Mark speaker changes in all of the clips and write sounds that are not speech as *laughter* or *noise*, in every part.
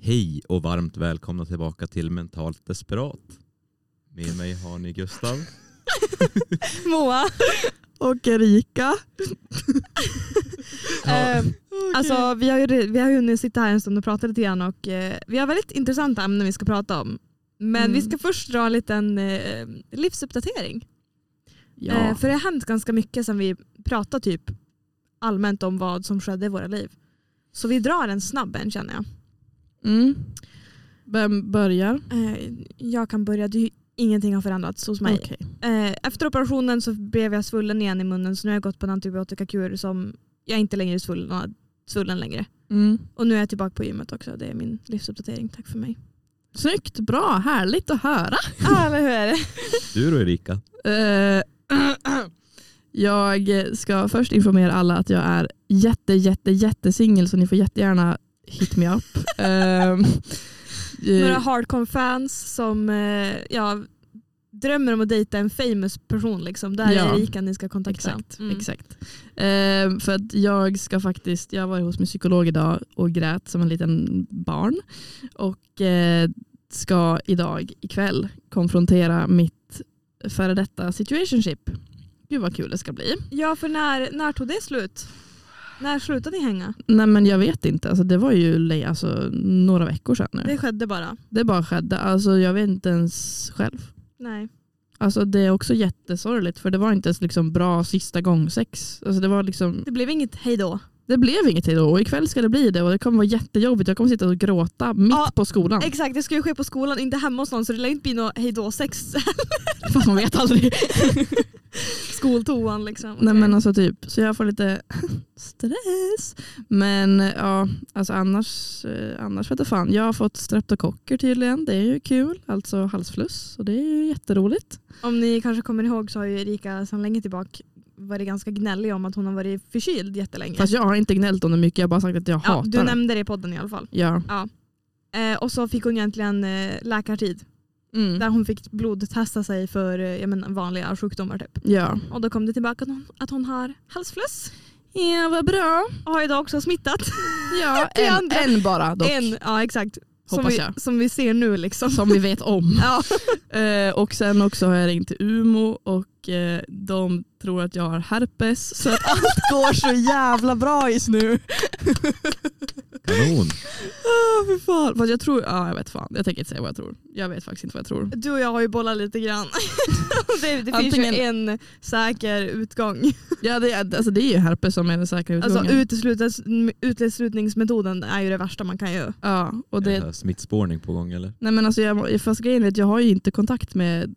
Speaker 1: Hej och varmt välkomna tillbaka till Mentalt Desperat. Med mig har ni Gustav.
Speaker 2: Moa.
Speaker 3: *laughs* Och Erika.
Speaker 2: *laughs* Eh, Alltså, vi, har ju, re- vi har ju hunnit sitta här en stund och prata lite grann och eh, vi har väldigt intressanta ämnen vi ska prata om. Men
Speaker 3: Mm.
Speaker 2: vi ska först dra en liten eh, livsuppdatering.
Speaker 3: ja.
Speaker 2: Eh, för det har hänt ganska mycket sen vi pratade typ allmänt om vad som skedde i våra liv. Så vi drar en snabb en känner jag.
Speaker 3: mm. Vem börjar?
Speaker 2: Eh, jag kan börja, det är ju, ingenting har förändrats hos mig.
Speaker 3: Okej.
Speaker 2: Eh, efter operationen så blev jag svullen igen i munnen så nu har jag gått på en antibiotikakur som jag inte längre är svullen, svullen längre.
Speaker 3: Mm.
Speaker 2: Och nu är jag tillbaka på gymmet också. Det är min livsuppdatering. Tack för mig.
Speaker 3: Snyggt, bra, härligt att höra.
Speaker 2: Ja, eller hur är det?
Speaker 1: Du då Erika?
Speaker 3: Eh, *clears throat* jag ska först informera alla att jag är jätte, jätte, jättesingel så ni får jättegärna hit me
Speaker 2: *laughs*
Speaker 3: up. Ehm, eh,
Speaker 2: Några hardcore-fans som eh, ja, drömmer om att dejta en famous person. Liksom. Där
Speaker 3: Ja.
Speaker 2: är Erika ni ska kontakta.
Speaker 3: Exakt.
Speaker 2: Mm.
Speaker 3: exakt. Ehm, för att jag ska faktiskt, jag var hos min psykolog idag och grät som en liten barn. Och eh, ska idag, ikväll, konfrontera mitt före detta situationship. Gud vad kul det ska bli.
Speaker 2: Ja, för när, när tog det slut? När slutade ni hänga?
Speaker 3: Nej men jag vet inte, alltså, det var ju le- alltså, några veckor sedan nu.
Speaker 2: Det skedde bara.
Speaker 3: Det bara skedde. Alltså, jag vet inte ens själv.
Speaker 2: Nej.
Speaker 3: Alltså, det är också jättesorgligt för det var inte ens liksom bra sista gång sex. Alltså, det, var liksom,
Speaker 2: Det blev inget hej då.
Speaker 3: det blev inget idag och ikväll ska det bli det och det kommer vara jättejobbigt. Jag kommer sitta och gråta mitt
Speaker 2: Ja,
Speaker 3: på skolan.
Speaker 2: Exakt, det ska ju ske på skolan, inte hemma hos någon så det lär ju inte bli något hej då sex *laughs*
Speaker 3: Fast man vet aldrig.
Speaker 2: skoltoan liksom.
Speaker 3: Nej,
Speaker 2: Okej.
Speaker 3: men alltså, typ. Så jag får lite *laughs* stress. Men ja, alltså, annars, eh, annars vet jag fan. Jag har fått streptokocker tydligen. Det är ju kul. Alltså halsfluss. Och det är ju jätteroligt.
Speaker 2: Om ni kanske kommer ihåg så har ju Erika sedan länge tillbaka varit ganska gnällig om att hon har varit förkyld jättelänge.
Speaker 3: Fast jag har inte gnällt om det mycket. Jag har bara sagt att jag
Speaker 2: ja,
Speaker 3: hatar
Speaker 2: du
Speaker 3: det.
Speaker 2: nämnde det i podden i alla fall.
Speaker 3: Ja.
Speaker 2: Eh, och så fick hon egentligen eh, läkartid
Speaker 3: Mm.
Speaker 2: där hon fick blodtesta sig för eh, jag menar, vanliga sjukdomar. Typ.
Speaker 3: Ja.
Speaker 2: Och då kom det tillbaka att hon, att hon har halsfluss
Speaker 3: Ja, vad bra.
Speaker 2: och har idag också smittat.
Speaker 3: Ja,
Speaker 2: *laughs* Det
Speaker 3: en,
Speaker 2: andra-
Speaker 3: en bara dock.
Speaker 2: *laughs* En, ja exakt. Som
Speaker 3: Hoppas
Speaker 2: vi,
Speaker 3: jag.
Speaker 2: som vi ser nu liksom.
Speaker 3: Som vi vet *laughs* om.
Speaker 2: Ja.
Speaker 3: Eh, och sen också har jag ringt till Umo och eh, de tror att jag har herpes. Så att allt *laughs* går så jävla bra just nu.
Speaker 1: Kanon!
Speaker 3: Oh, för fan. Fast jag tror, ja jag vet fan. Jag tänker inte säga vad jag tror. Jag vet faktiskt inte vad jag tror.
Speaker 2: Du och jag har ju bollat lite grann. *laughs* det det finns ju
Speaker 3: Antingen-
Speaker 2: en säker utgång.
Speaker 3: Ja, det, är- alltså, det är ju herpes som är den säkra utgången.
Speaker 2: Alltså uteslutes, uteslutningsmetoden är ju det värsta man kan göra.
Speaker 3: ja, och
Speaker 1: Är det
Speaker 3: det,
Speaker 1: här smittspårning på gång eller?
Speaker 3: nej, men alltså, jag, fast grejen är att jag har ju inte kontakt med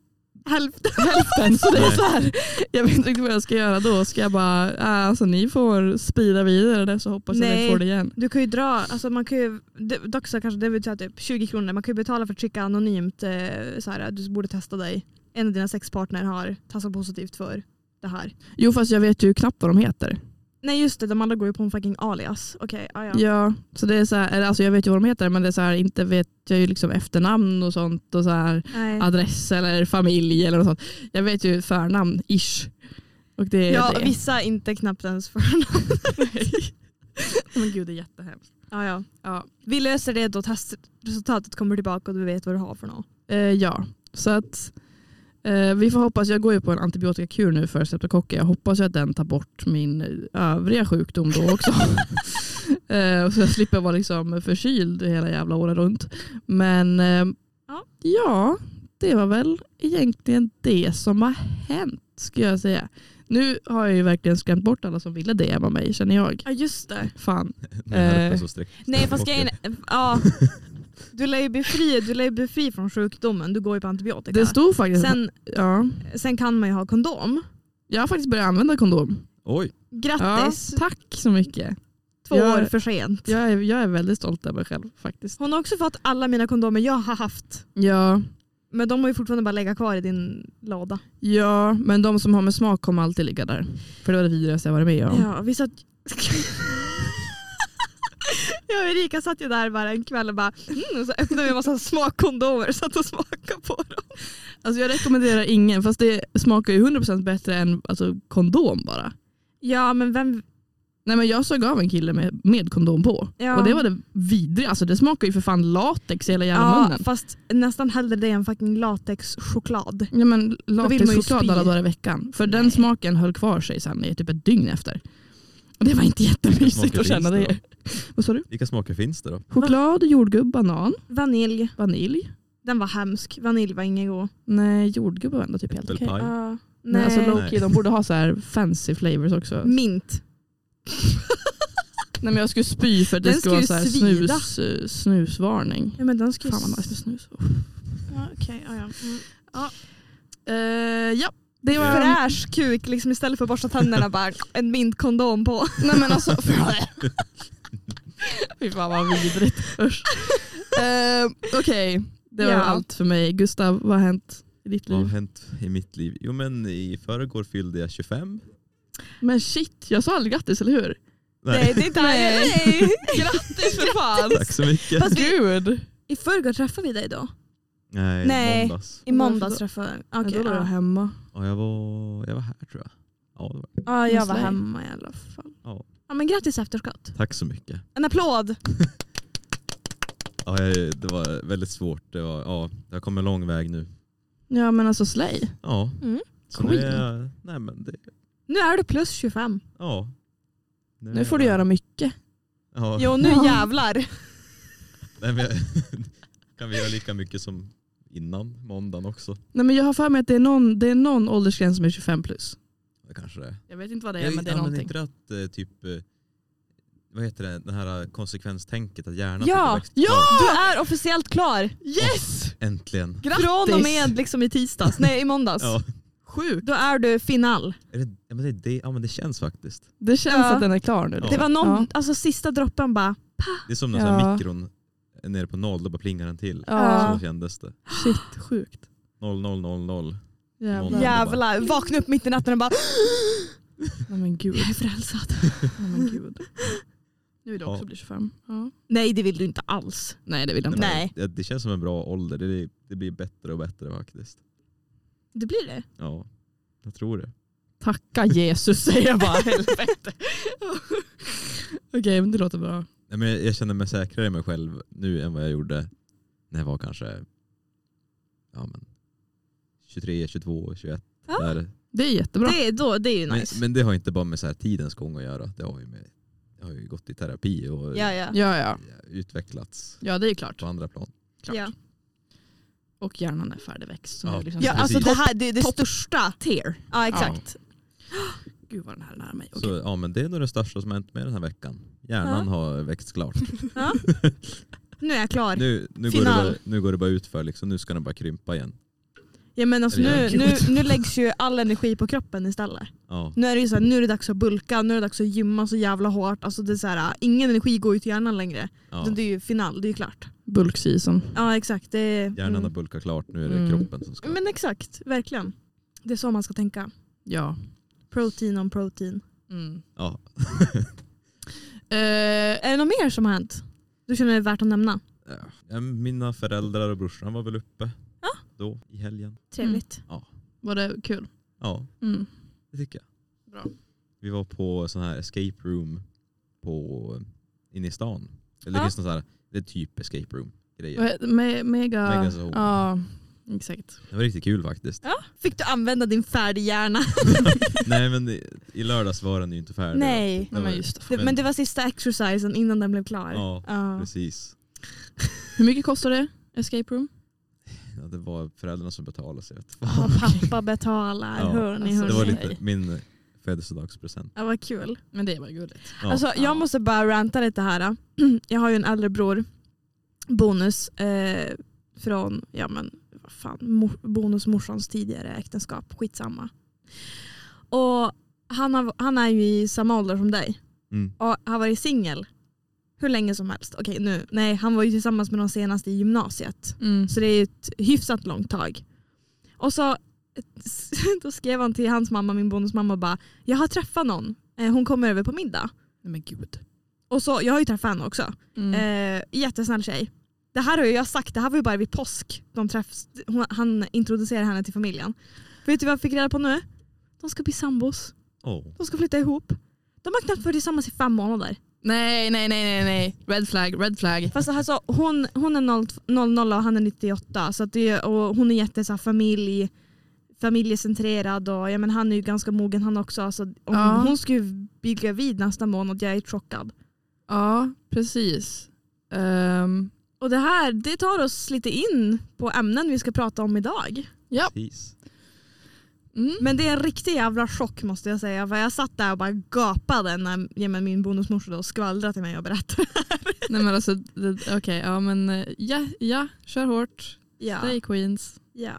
Speaker 2: Hälften.
Speaker 3: hälften. Så det är
Speaker 1: Nej.
Speaker 3: så här, jag vet inte riktigt vad jag ska göra då. Ska jag bara, äh, alltså ni får sprida vidare det så hoppas jag
Speaker 2: Nej.
Speaker 3: ni får det igen.
Speaker 2: Du kan ju dra, alltså man kan ju, det- dock så kanske det betyder typ 20 kronor, man kan ju betala för att skicka anonymt eh, så här, du borde testa dig. En av dina sexpartner har testat positivt för det här.
Speaker 3: Jo fast jag vet ju knappt vad de heter.
Speaker 2: Nej just det, de andra går ju på en fucking alias. Okej, ah, ja.
Speaker 3: Ja. så det är så här, eller, alltså jag vet ju vad de heter men det är så här, inte vet jag ju liksom efternamn och sånt och så här,
Speaker 2: Nej.
Speaker 3: adress eller familj eller något sånt. Jag vet ju förnamn ish. Och det är
Speaker 2: ja
Speaker 3: det. *laughs*
Speaker 2: vissa inte knappt ens förnamn.
Speaker 3: men gud det är jättehemskt.
Speaker 2: ah, ja.
Speaker 3: Ja,
Speaker 2: Vi löser det då testresultatet kommer tillbaka och du vet vad du har för något.
Speaker 3: eh, ja. så att eh, vi får hoppas, jag går ju på en antibiotikakur nu för streptokocker. Jag hoppas ju att den tar bort min övriga sjukdom då
Speaker 2: *laughs*
Speaker 3: också. eh, så jag slipper vara liksom förkyld hela jävla året runt. Men eh,
Speaker 2: Ja.
Speaker 3: ja, det var väl egentligen det som har hänt skulle jag säga. Nu har jag ju verkligen skrämt bort alla som ville DMa mig känner jag.
Speaker 2: Ja just det.
Speaker 3: Fan.
Speaker 1: Med
Speaker 3: Eh.
Speaker 1: herpes och streck.
Speaker 2: Nej fast grejen
Speaker 3: *laughs*
Speaker 2: ja. Du lär ju bli fri, du lär ju bli fri från sjukdomen, du går ju på antibiotika.
Speaker 3: Det stod faktiskt...
Speaker 2: sen,
Speaker 3: ja.
Speaker 2: sen kan man ju ha kondom.
Speaker 3: Jag har faktiskt börjat använda kondom.
Speaker 2: *laughs*
Speaker 1: Oj,
Speaker 3: Ja,
Speaker 2: Grattis,
Speaker 3: tack så mycket.
Speaker 2: två
Speaker 3: jag-
Speaker 2: år för sent.
Speaker 3: Jag är, jag är väldigt stolt över mig själv faktiskt.
Speaker 2: Hon har också fått alla mina kondomer jag har haft.
Speaker 3: Ja,
Speaker 2: Men de har ju fortfarande bara legat kvar i din låda.
Speaker 3: ja, men de som har med smak kommer alltid ligga där. För det var det vidrigaste jag varit med om.
Speaker 2: *laughs* Ja, vi satt... Jag och Erika satt ju där bara en kväll och bara mm, och så öppnade vi en massa smakkondomer och satt och smakade på dem.
Speaker 3: Alltså jag rekommenderar ingen, fast det smakar ju 100% bättre än alltså, kondom bara.
Speaker 2: Ja men vem...
Speaker 3: Nej men jag såg av en kille med, med kondom på.
Speaker 2: Ja.
Speaker 3: Och det var det vidriga, alltså det smakar ju för fan latex i hela jävla
Speaker 2: Ja,
Speaker 3: munnen.
Speaker 2: fast nästan hellre det än fucking latexchoklad.
Speaker 3: Ja men
Speaker 2: vill man ju
Speaker 3: lakritschoklad
Speaker 2: spy.
Speaker 3: alla dagar i veckan. För den
Speaker 2: Nej.
Speaker 3: smaken höll kvar sig sen i typ ett dygn efter. Och det var inte jättemysigt
Speaker 1: smakar
Speaker 3: att känna
Speaker 1: finns det
Speaker 3: det. Vad sa du?
Speaker 1: Vilka smaker finns det då?
Speaker 3: Choklad, jordgubb, banan,
Speaker 2: Vanilj,
Speaker 3: vanilj.
Speaker 2: den var hemsk. Vanilj var ingen god.
Speaker 3: Nej jordgubb var ändå typ helt okej.
Speaker 1: Äppelpaj.
Speaker 2: Ja.
Speaker 3: Nej.
Speaker 2: nej.
Speaker 3: Alltså low
Speaker 1: Nej.
Speaker 3: key, de borde ha så här fancy flavors också.
Speaker 2: Mint.
Speaker 3: Nej men jag skulle spy för att det
Speaker 2: Den
Speaker 3: skulle vara så
Speaker 2: skulle
Speaker 3: här
Speaker 2: ju svida.
Speaker 3: snus, eh, snusvarning.
Speaker 2: Ja, men den ska ju...
Speaker 3: Fan vad nice med snus.
Speaker 2: ja, okej, ja, ja. Mm.
Speaker 3: Eh, ja, det var...
Speaker 2: Fräsch kuk, liksom istället för att borsta tänderna bara en mintkondom på.
Speaker 3: Nej men *laughs* alltså... Fy fan vad vidrigt. *laughs* Usch.
Speaker 1: *laughs*
Speaker 3: Eh, Okej, det var
Speaker 2: Ja.
Speaker 3: allt för mig. Gustav, vad har hänt i ditt
Speaker 1: Vad har
Speaker 2: Mm.
Speaker 3: liv?
Speaker 1: hänt i mitt liv? Jo men i förrgår fyllde jag 25.
Speaker 3: Men shit, jag sa aldrig grattis, eller hur?
Speaker 2: Nej, det är inte
Speaker 3: Nej.
Speaker 2: *laughs* Nej.
Speaker 3: Grattis för fan!
Speaker 1: *laughs* Tack så mycket.
Speaker 2: Fast vi,
Speaker 3: Gud!
Speaker 2: I förrgår träffade vi dig då?
Speaker 1: Nej,
Speaker 2: Nej.
Speaker 1: måndags.
Speaker 2: I måndags träffade vi.
Speaker 3: Okay,
Speaker 2: Okej,
Speaker 3: då var jag
Speaker 2: ja.
Speaker 3: hemma.
Speaker 1: Ja, jag, var, jag var här tror jag. Ja, det var. jag.
Speaker 2: ja, jag var
Speaker 3: Slay.
Speaker 2: hemma i alla fall.
Speaker 1: Ja.
Speaker 2: Ja, men grattis i efterskott.
Speaker 1: Tack så mycket.
Speaker 2: En applåd!
Speaker 1: Ja, jag, det var väldigt svårt. Det var, ja, jag har kommit en lång väg nu.
Speaker 3: Ja men alltså slay.
Speaker 1: Ja.
Speaker 2: Mm.
Speaker 1: Så nu är
Speaker 3: Queen.
Speaker 1: jag, nej, men det,
Speaker 2: Nu är du plus 25.
Speaker 1: ja. är
Speaker 3: Nu får
Speaker 1: jag-
Speaker 3: du göra mycket.
Speaker 1: Ja.
Speaker 2: Jo, nu
Speaker 3: nu
Speaker 2: jävlar.
Speaker 1: *laughs* Nej, men, jag- kan vi göra lika mycket som innan måndagen också?
Speaker 3: Nej men jag har för mig att det är någon, det är någon åldersgräns som är 25 plus.
Speaker 1: Det kanske det är.
Speaker 3: Jag vet inte vad det är
Speaker 1: Jag-
Speaker 3: men det är
Speaker 1: ja,
Speaker 3: någonting.
Speaker 1: inte det att eh, typ, eh, vad heter det, den här eh, konsekvenstänket att hjärnan
Speaker 2: Ja,
Speaker 1: växt-
Speaker 3: ja!
Speaker 2: Du är officiellt klar.
Speaker 3: Yes!
Speaker 1: Äntligen.
Speaker 3: Grattis!
Speaker 2: Från och med liksom i tisdags, nej i måndags.
Speaker 1: Ja.
Speaker 3: Sjukt.
Speaker 2: Då är du final.
Speaker 1: Är det, ja, men det, det, ja men det känns faktiskt.
Speaker 3: Det känns
Speaker 2: Ja.
Speaker 3: att den är klar nu.
Speaker 1: Ja.
Speaker 2: Det var någon,
Speaker 3: Ja.
Speaker 2: alltså sista droppen bara.
Speaker 1: Det är som när ja.
Speaker 3: Ja.
Speaker 1: mikron är nere på noll, då bara plingar den till.
Speaker 3: Ja.
Speaker 1: Så kändes det.
Speaker 3: Shit, sjukt. Jävlar.
Speaker 1: Noll, noll, noll, noll.
Speaker 3: *laughs* Jävlar.
Speaker 1: Måndag. Ja.
Speaker 2: Jävlar, vakna upp mitt i natten och bara *gasps*
Speaker 3: Nej men gud.
Speaker 2: jag är förälskad.
Speaker 3: Nej, men gud. *laughs* Nu vill jag också
Speaker 1: Ja.
Speaker 3: bli 25. Ja.
Speaker 2: Nej det vill du inte alls.
Speaker 3: Nej det vill jag
Speaker 1: men
Speaker 3: inte.
Speaker 2: Nej.
Speaker 1: Det, det känns som en bra ålder. Det, det blir bättre och bättre faktiskt.
Speaker 2: Det blir det.
Speaker 1: Ja, jag tror det.
Speaker 3: Tacka Jesus säger jag *laughs* bara. Helvete. Okej men det låter bra.
Speaker 1: Nej, men jag, jag känner mig säkrare i mig själv nu än vad jag gjorde när jag var kanske ja, men 23, 22, 21.
Speaker 2: Ja,
Speaker 1: Där.
Speaker 3: Det är jättebra.
Speaker 2: Det, är då, det är ju
Speaker 1: Men,
Speaker 2: Ah, nice.
Speaker 1: men det har inte bara med så här tidens gång att göra. Det har ju, med, jag har ju gått i terapi och
Speaker 2: ja, ja.
Speaker 3: Ja ja.
Speaker 1: utvecklats
Speaker 3: Ja det är klart.
Speaker 1: på andra plan.
Speaker 3: klart.
Speaker 2: Ja.
Speaker 3: Och hjärnan är färdigväxt. Så
Speaker 1: Ja.
Speaker 3: nu liksom
Speaker 2: ja
Speaker 3: så här-
Speaker 2: alltså det
Speaker 1: Precis.
Speaker 2: här det är det största.
Speaker 3: Tear.
Speaker 2: Ja exakt.
Speaker 3: Gud vad den här är nära mig.
Speaker 1: Så, ja, men det är nog det största som har hänt mig den här veckan. Hjärnan har växt
Speaker 2: *laughs*
Speaker 1: klart.
Speaker 2: Nu är jag klar.
Speaker 1: Nu, nu, går det
Speaker 2: Final.
Speaker 1: bara, nu går det bara ut för liksom. Nu ska den bara krympa igen.
Speaker 2: Ja, men alltså, nu, nu, nu läggs ju all energi på kroppen istället.
Speaker 1: Ja.
Speaker 2: Nu är det ju så här, nu är det dags att bulka, nu är det dags att gymma så jävla hårt. Alltså det är så här, ingen energi går ju till hjärnan längre.
Speaker 1: Ja.
Speaker 2: Utan Det är ju final, det är ju klart.
Speaker 3: Bulkseason.
Speaker 2: Ja exakt. Det är,
Speaker 1: Hjärnan har bulkat klart, nu är det
Speaker 3: Mm.
Speaker 1: kroppen som ska...
Speaker 2: Mm. Men exakt, verkligen. Det är så man ska tänka.
Speaker 3: Ja.
Speaker 2: Protein om protein.
Speaker 3: Mm.
Speaker 1: Ja.
Speaker 3: Eh,
Speaker 2: Är det något mer som har hänt? Du känner det är värt att nämna?
Speaker 1: Ja, Mina föräldrar och brorsan var väl uppe då i helgen.
Speaker 2: Trevligt.
Speaker 3: var det kul?
Speaker 1: Ja,
Speaker 3: Mm.
Speaker 1: det tycker jag.
Speaker 3: Bra.
Speaker 1: Vi var på sån här escape room på, inne i stan. Eller
Speaker 2: Ja.
Speaker 1: det finns någon sån här, det är typ escape room grejer.
Speaker 3: Vad heter- Me- mega...
Speaker 1: Megazone.
Speaker 3: Ja, exakt.
Speaker 1: Det var riktigt kul
Speaker 2: *laughs*
Speaker 1: faktiskt.
Speaker 2: Mm. Fick du använda din färdighjärna?
Speaker 1: Nej men i, i lördags var den ju inte färdig.
Speaker 2: Nej.
Speaker 3: Nej,
Speaker 1: var- typ
Speaker 3: men just det.
Speaker 2: Det, men det var sista exercisen innan den blev klar.
Speaker 1: Ja,
Speaker 2: Ja.
Speaker 1: precis.
Speaker 3: Hur mycket kostar det? Escape room?
Speaker 1: Ja, det var föräldrarna som betalade sig. Vet. du.
Speaker 2: Ja, pappa betalar.
Speaker 1: Ja.
Speaker 2: Hörni,
Speaker 3: Alltså,
Speaker 2: hörni.
Speaker 1: Det var
Speaker 3: nej.
Speaker 1: lite min födelsedagspresent.
Speaker 2: Ja, vad kul.
Speaker 3: Men det var gulligt.
Speaker 1: Ja.
Speaker 2: Alltså,
Speaker 3: Ja.
Speaker 2: jag måste bara ranta lite här. då. *clears throat* Jag har ju en äldre bror, Bonus, eh, från ja, men, vad fan, mor- bonusmorsans tidigare äktenskap. Skitsamma. Och han, har, han är ju i samma ålder som dig
Speaker 1: Mm.
Speaker 2: och har varit singel hur länge som helst. Okej, nu. Nej, han var ju tillsammans med någon senast i gymnasiet.
Speaker 3: Mm.
Speaker 2: Så det är ju ett hyfsat långt tag. Och så *laughs* då skrev han till hans mamma, min bonusmamma, och bara jag har träffat någon. Eh, Hon kommer över på middag.
Speaker 3: Nej men gud.
Speaker 2: Och så, jag har ju träffat henne också.
Speaker 3: Mm.
Speaker 2: Eh, jättesnäll tjej. Det här har ju jag sagt, det här var ju bara vid påsk. De träffs, hon, han introducerar henne till familjen. Vet du vad jag fick reda på nu? De ska bli sambos.
Speaker 1: Oh.
Speaker 2: De ska flytta ihop. De har knappt varit tillsammans i fem månader.
Speaker 3: Nej, nej, nej, nej, nej. Red flag, red flag.
Speaker 2: Fast alltså, hon, hon är 0, 00 och han är 98 så att det, är- och hon är jätte så här, familj, familjecentrerad och ja, men han är ju ganska mogen han också. Alltså, om
Speaker 3: Ja.
Speaker 2: Hon skulle ju bli gravid nästa månad, jag är chockad.
Speaker 3: Ja, precis. Ehm,
Speaker 2: Och det här det tar oss lite in på ämnen vi ska prata om idag.
Speaker 1: Precis.
Speaker 2: *laughs*
Speaker 3: mm.
Speaker 2: Men det är en riktig jävla chock måste jag säga. För jag satt där och bara gapade när ja, men min bonusmorsa då skvallrade till mig och berättade. *laughs*
Speaker 3: Nej men alltså, det- okej, ja men eh, ja, ja, kör hårt.
Speaker 2: Ja.
Speaker 3: Stay Queens.
Speaker 2: Ja.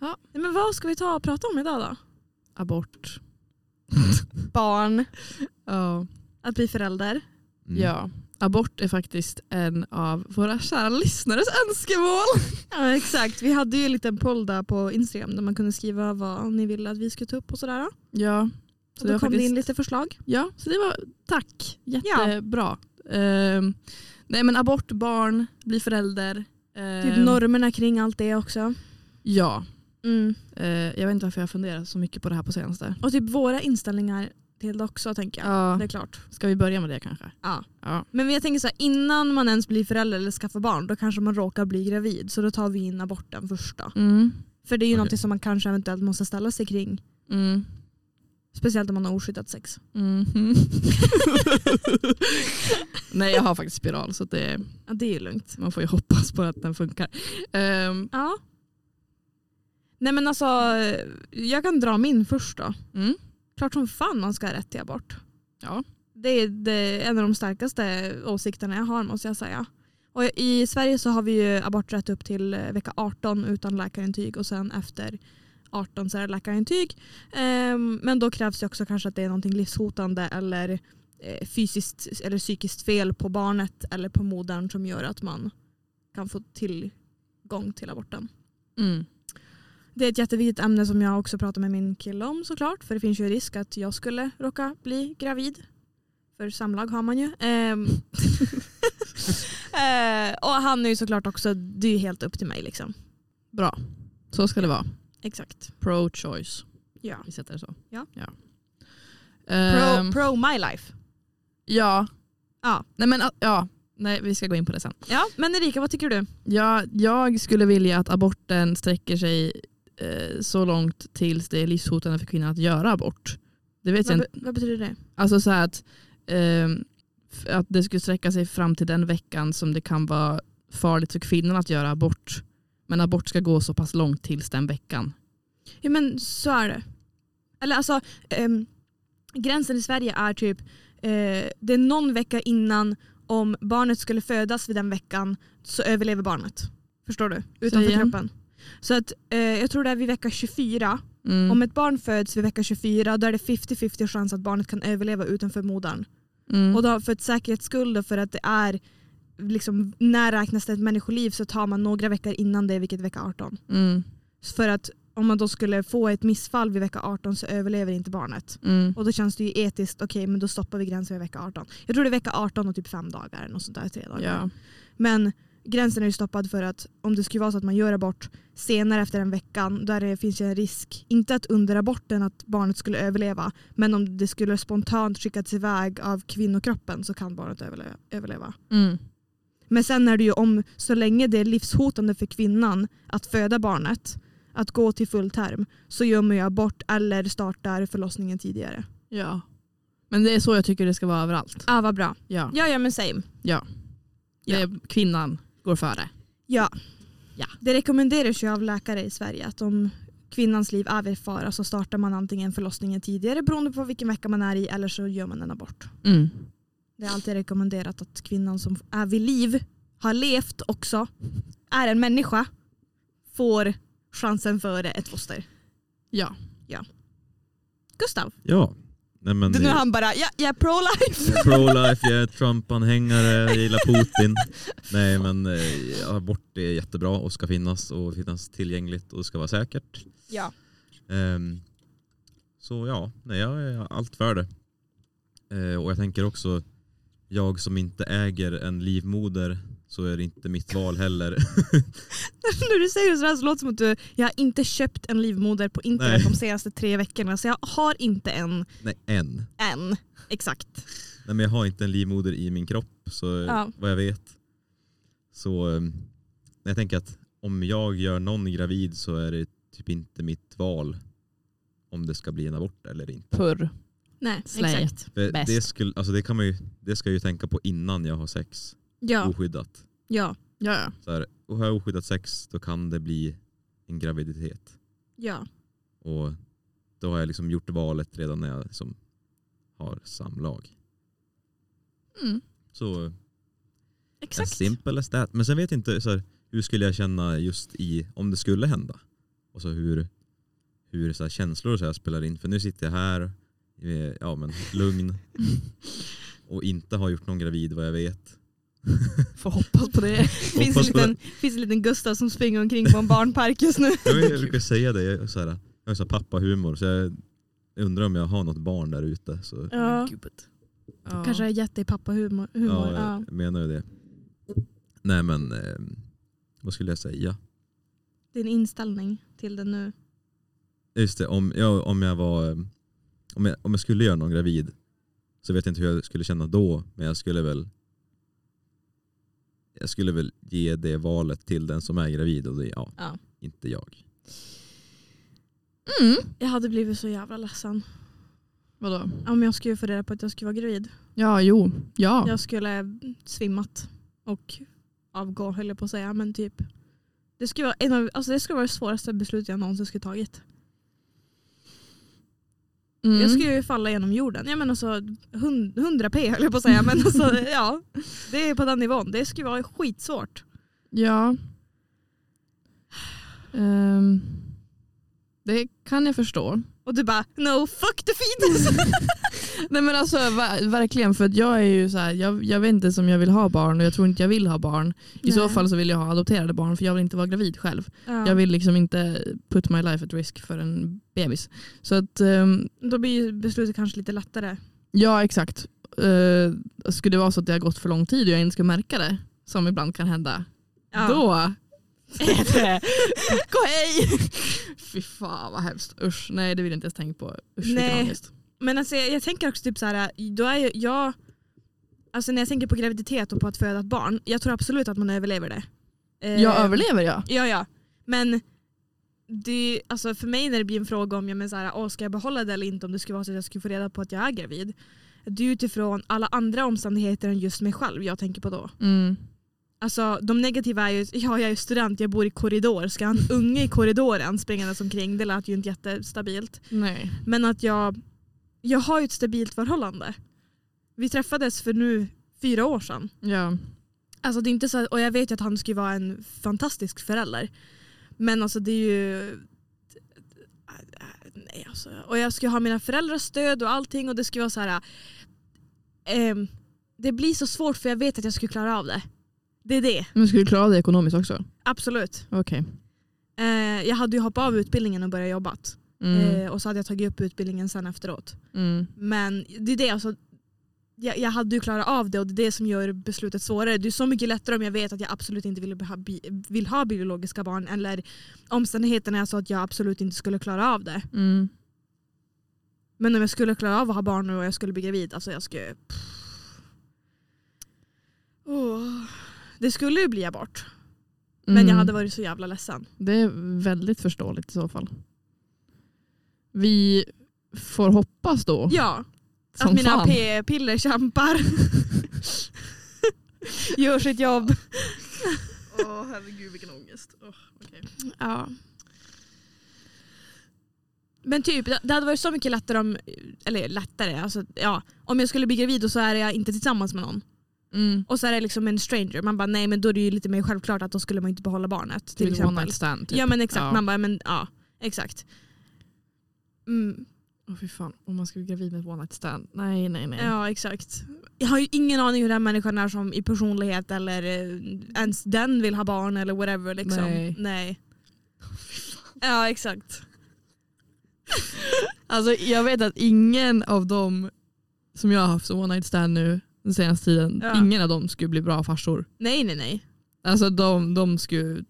Speaker 3: Ja.
Speaker 2: Nej, Men vad ska vi ta och prata om idag då?
Speaker 3: Abort.
Speaker 2: Barn,
Speaker 3: Ja.
Speaker 2: att bli förälder.
Speaker 1: Mm.
Speaker 3: ja, abort är faktiskt en av våra kära lyssnares önskemål.
Speaker 2: Ja, exakt. Vi hade ju en liten poll där på Instagram där man kunde skriva vad ni ville att vi skulle ta upp och sådär. Och
Speaker 3: Ja, så det
Speaker 2: då
Speaker 3: var
Speaker 2: kom det
Speaker 3: faktiskt
Speaker 2: in lite förslag.
Speaker 3: Ja, så det var tack. Jättebra. Ehm, nej men abort, barn, bli förälder. Ehm,
Speaker 2: Typ normerna kring allt det också.
Speaker 3: Ja.
Speaker 2: Mm.
Speaker 3: Eh, jag vet inte varför jag har funderat så mycket på det här på senaste.
Speaker 2: Och typ våra inställningar till det också tänker jag.
Speaker 3: Ja.
Speaker 2: Det är klart.
Speaker 3: Ska vi börja med det kanske?
Speaker 2: Ja.
Speaker 3: Ja.
Speaker 2: Men jag tänker så här, innan man ens blir förälder eller skaffar barn då kanske man råkar bli gravid så då tar vi in aborten först då.
Speaker 3: Mm.
Speaker 2: För det är ju
Speaker 1: Okej.
Speaker 2: någonting som man kanske eventuellt måste ställa sig kring.
Speaker 3: Mm.
Speaker 2: Speciellt om man har oskyddat sex. Mm.
Speaker 3: Mhm. *laughs* Nej jag har faktiskt spiral så det,
Speaker 2: Ja, det är ju lugnt.
Speaker 3: man får ju hoppas på att den funkar. Ehm,
Speaker 2: Ja. Nej men alltså, jag kan dra min först då.
Speaker 3: mm.
Speaker 2: klart som fan man ska ha rätt till abort.
Speaker 3: Ja.
Speaker 2: Det är det, en av de starkaste åsikterna jag har måste jag säga. Och I Sverige så har vi ju aborträtt upp till eh, vecka 18 utan läkarintyg och sen efter 18 så är det läkarintyg. Ehm, men då krävs det också kanske att det är någonting livshotande eller eh, fysiskt eller psykiskt fel på barnet eller på modern som gör att man kan få tillgång till aborten.
Speaker 3: Mm.
Speaker 2: Det är ett jätteviktigt ämne som jag också pratar med min kille om såklart. För det finns ju risk att jag skulle råka bli gravid. För samlag har man ju. Ehm. Eh, och han är ju såklart också, det är ju helt upp till mig liksom.
Speaker 3: Bra, så ska det vara.
Speaker 2: Exakt.
Speaker 3: Pro choice,
Speaker 2: Ja.
Speaker 3: vi sätter det så.
Speaker 2: Ja.
Speaker 3: Ehm,
Speaker 2: Pro, pro my life.
Speaker 3: ja.
Speaker 2: Ja.
Speaker 3: Nej men ah, ja, nej vi ska gå in på det sen.
Speaker 2: Ja, men Erika vad tycker du?
Speaker 3: Ja, jag skulle vilja att aborten sträcker sig eh, så långt tills det är livshotande för kvinnan att göra abort. Det vet jag
Speaker 2: Vad,
Speaker 3: inte.
Speaker 2: be- vad betyder det?
Speaker 3: Alltså så här att, ehm, f- att det skulle sträcka sig fram till den veckan som det kan vara farligt för kvinnan att göra abort. Men abort ska gå så pass långt tills den veckan.
Speaker 2: Ja men så är det. Eller alltså, ehm, gränsen i Sverige är typ, eh, det är någon vecka innan om barnet skulle födas vid den veckan så överlever barnet. Förstår du? Utanför
Speaker 3: igen.
Speaker 2: kroppen. Så att, eh, jag tror det är vid vecka 24.
Speaker 3: Mm.
Speaker 2: Om ett barn föds vid vecka 24 då är det 50-50 chans att barnet kan överleva utanför modern.
Speaker 3: mm.
Speaker 2: Och då, för ett säkerhets skull och för att det är liksom, när räknas det ett människoliv så tar man några veckor innan det, vilket är vecka 18.
Speaker 3: mm.
Speaker 2: För att om man då skulle få ett missfall vid vecka 18 så överlever inte barnet.
Speaker 3: Mm.
Speaker 2: Och då känns det ju etiskt, okej men då stoppar vi gränsen vid vecka 18. Jag tror det är vecka 18 och typ fem dagar, något sånt där, tre dagar.
Speaker 3: Ja.
Speaker 2: Men gränsen är ju stoppad för att om det skulle vara så att man gör abort senare efter den veckan, där det finns ju en risk, inte att under aborten att barnet skulle överleva, men om det skulle spontant skickas iväg av kvinnokroppen så kan barnet överle- överleva.
Speaker 3: Mm.
Speaker 2: Men sen är det ju om, så länge det är livshotande för kvinnan att föda barnet, att gå till full term, så gör man ju abort eller startar förlossningen tidigare.
Speaker 3: ja. Men det är så jag tycker det ska vara överallt.
Speaker 2: Ah, vad bra.
Speaker 3: Ja.
Speaker 2: Ja, ja men same. Ja.
Speaker 3: Det är, kvinnan går före.
Speaker 2: Ja.
Speaker 3: Ja.
Speaker 2: Det rekommenderas ju av läkare i Sverige att om kvinnans liv är vid fara så startar man antingen förlossningen tidigare beroende på vilken vecka man är i eller så gör man en abort.
Speaker 3: Mm.
Speaker 2: Det är alltid rekommenderat att kvinnan som är vid liv, har levt också, är en människa, får chansen före ett foster.
Speaker 3: Ja.
Speaker 2: Gustav,
Speaker 1: Ja. Nej, men
Speaker 2: nu är
Speaker 1: det-
Speaker 2: han bara ja, jag
Speaker 3: *laughs*
Speaker 2: är pro-life.
Speaker 1: Pro-life, jag är Trump-anhängare, jag gillar Putin. Nej men eh, abort är jättebra och ska finnas och finnas tillgängligt och ska vara säkert.
Speaker 2: Ja.
Speaker 1: Ehm, så ja, nej, jag är allt för det. Eh, och jag tänker också, jag som inte äger en livmoder så är det inte mitt val heller.
Speaker 2: *laughs*
Speaker 1: *laughs*
Speaker 2: När du säger sådär så låter det som att du, jag har inte köpt en livmoder på internet
Speaker 1: Nej.
Speaker 2: de senaste tre veckorna så jag har inte en
Speaker 1: Nej, än.
Speaker 2: än. Exakt.
Speaker 1: Nej, men jag har inte en livmoder i min kropp så
Speaker 2: Ja.
Speaker 1: vad jag vet. Så eh, jag tänker att om jag gör någon gravid så är det typ inte mitt val om det ska bli en abort eller inte.
Speaker 3: Purr.
Speaker 2: Nej,
Speaker 3: Slay.
Speaker 2: exakt.
Speaker 1: För
Speaker 3: Bäst.
Speaker 1: det, skulle, alltså det, kan man ju, det ska jag ju tänka på innan jag har sex Oh.
Speaker 2: Ja,
Speaker 1: oskyddat.
Speaker 2: ja,
Speaker 3: Ja, ja.
Speaker 1: Så här, och har jag oskyddat sex då kan det bli en graviditet.
Speaker 2: ja.
Speaker 1: Och då har jag liksom gjort valet redan när jag liksom har samlag.
Speaker 3: Mm.
Speaker 1: Så As
Speaker 2: Exakt.
Speaker 1: simple as that. Men sen vet jag inte, så här, hur skulle jag känna just i, om det skulle hända? Och så hur, hur så här, känslor och så här spelar in. För nu sitter jag här, eh, ja men
Speaker 2: *laughs*
Speaker 1: lugn. och inte har gjort någon gravid vad jag vet. *laughs*
Speaker 3: Får hoppas på det.
Speaker 2: Det finns, en
Speaker 1: Hoppas på det.
Speaker 2: liten, finns en liten Gustav som springer omkring på en barnpark just nu.
Speaker 1: Jag, jag brukar säga det, jag, är så här, jag har så här pappahumor. Så jag undrar om jag har något barn där ute. Så,
Speaker 2: Ja.
Speaker 3: Gud. Ja.
Speaker 2: Kanske har gett dig pappahumor. humor.
Speaker 1: ja,
Speaker 2: Ja.
Speaker 1: jag menar ju det. Nej men, eh, vad skulle jag säga?
Speaker 2: Din inställning till det nu.
Speaker 1: Just det, om jag, om jag var eh, om jag, om jag skulle göra någon gravid så vet jag inte hur jag skulle känna då men jag skulle väl jag skulle väl ge det valet till den som är gravid och det är ja,
Speaker 2: Ja.
Speaker 1: inte jag.
Speaker 3: Mm.
Speaker 2: Jag hade blivit så jävla ledsen
Speaker 3: Vadå?
Speaker 2: om jag skulle få reda på att jag skulle vara gravid.
Speaker 3: Ja, jo. Ja.
Speaker 2: Jag skulle svimmat och avgå höll jag på att säga. Men typ, det skulle vara, en av, alltså det skulle vara det svåraste beslutet jag någonsin skulle tagit.
Speaker 3: Mm.
Speaker 2: Jag skulle ju falla genom jorden. Jag menar så, hund- 100 p höll jag på att säga. Men
Speaker 3: *laughs*
Speaker 2: alltså, ja, det är på den nivån. Det skulle vara skitsvårt.
Speaker 3: Ja. Ehm, det kan jag förstå.
Speaker 2: Och du bara, no fuck the
Speaker 3: *laughs*
Speaker 2: fetus.
Speaker 3: Nej men alltså va- verkligen för att jag är ju så här, jag, jag vet inte som jag vill ha barn och jag tror inte jag vill ha barn. I så
Speaker 2: Nej.
Speaker 3: fall så vill jag ha adopterade barn för jag vill inte vara gravid själv.
Speaker 2: Ja.
Speaker 3: Jag vill liksom inte put my life at risk för en bebis. Så att ehm,
Speaker 2: Då blir ju beslutet kanske lite lättare.
Speaker 3: ja exakt. Eh, skulle det vara så att det har gått för lång tid och jag inte ska märka det som ibland kan hända.
Speaker 2: Ja.
Speaker 3: Då *laughs* är det tack och hej. Fy fan vad hemskt. Usch, nej det vill jag inte ens tänka på. Usch
Speaker 2: Nej.
Speaker 3: vilken ångest.
Speaker 2: Men alltså, jag, jag tänker också typ så här, då är ju jag, alltså när jag tänker på graviditet och på att föda ett barn, jag tror absolut att man överlever det. Eh,
Speaker 3: Jag överlever jag.
Speaker 2: Ja, ja. Men det, alltså för mig när det blir en fråga om jag menar så här, åh, ska jag behålla det eller inte om det skulle vara så att jag skulle få reda på att jag är gravid. Det är ju utifrån alla andra omständigheter än just mig själv jag tänker på då.
Speaker 3: Mm.
Speaker 2: Alltså de negativa är ju, *laughs* ja jag är student, jag bor i korridor, ska jag ha en unge i korridoren springandes omkring? Det lät ju inte jättestabilt.
Speaker 3: Nej.
Speaker 2: Men att jag, jag har ju ett stabilt förhållande. Vi träffades för nu fyra år sedan.
Speaker 3: Ja.
Speaker 2: Alltså det är inte så, och jag vet ju att han skulle vara en fantastisk förälder. Men alltså det är ju... Nej alltså. Och jag skulle ha mina föräldrars stöd och allting och det skulle vara så här... ehm, det blir så svårt för jag vet att jag skulle klara av det. Det är det,
Speaker 3: Men skulle du klara det ekonomiskt också?
Speaker 2: absolut.
Speaker 3: Okej.
Speaker 2: Eh, jag hade ju hoppat av utbildningen och börjat jobba.
Speaker 3: Mm.
Speaker 2: Eh, och så hade jag tagit upp utbildningen sen efteråt.
Speaker 3: Mm.
Speaker 2: Men det är det alltså. Jag, jag hade ju klarat av det och det är det som gör beslutet svårare. Det är så mycket lättare om jag vet att jag absolut inte vill, ha bi- vill ha biologiska barn eller omständigheterna är så att jag absolut inte skulle klara av det.
Speaker 3: Mm.
Speaker 2: Men om jag skulle klara av att ha barn nu och jag skulle bli gravid, alltså jag skulle... Pff. Åh. Det skulle ju bli abort, men
Speaker 3: Mm.
Speaker 2: jag hade varit så jävla ledsen.
Speaker 3: Det är väldigt förståeligt i så fall. Vi får hoppas då.
Speaker 2: Ja,
Speaker 3: som
Speaker 2: att mina
Speaker 3: fan. *laughs*
Speaker 2: p-piller kämpar. Gör sitt jobb.
Speaker 3: Åh herregud vilken ångest. Oh,
Speaker 2: Ja. Men typ, det det hade varit så mycket lättare om, eller lättare, alltså, ja, om jag skulle bli gravid och så är jag inte tillsammans med någon.
Speaker 3: mm.
Speaker 2: Och så är det liksom en stranger. Man bara nej men då är det ju lite mer självklart att då skulle man inte behålla barnet. Till
Speaker 3: Till one
Speaker 2: exempel.
Speaker 3: night stand. Typ.
Speaker 2: Ja men exakt,
Speaker 3: Ja.
Speaker 2: man bara men ja, exakt. Mm,
Speaker 3: Åh, fy fan, om man ska bli gravid med ett one night stand. Nej nej nej.
Speaker 2: ja exakt. Jag har ju ingen aning hur den människan är som i personlighet eller eh, ens den vill ha barn eller whatever liksom.
Speaker 3: Nej.
Speaker 2: nej.
Speaker 3: *laughs*
Speaker 2: Ja exakt.
Speaker 3: Alltså, jag vet att ingen av dem som jag har haft som one night stand nu den senaste tiden.
Speaker 2: Ja.
Speaker 3: Ingen av dem skulle bli bra farsor.
Speaker 2: Nej, nej, nej.
Speaker 3: Alltså de, de skulle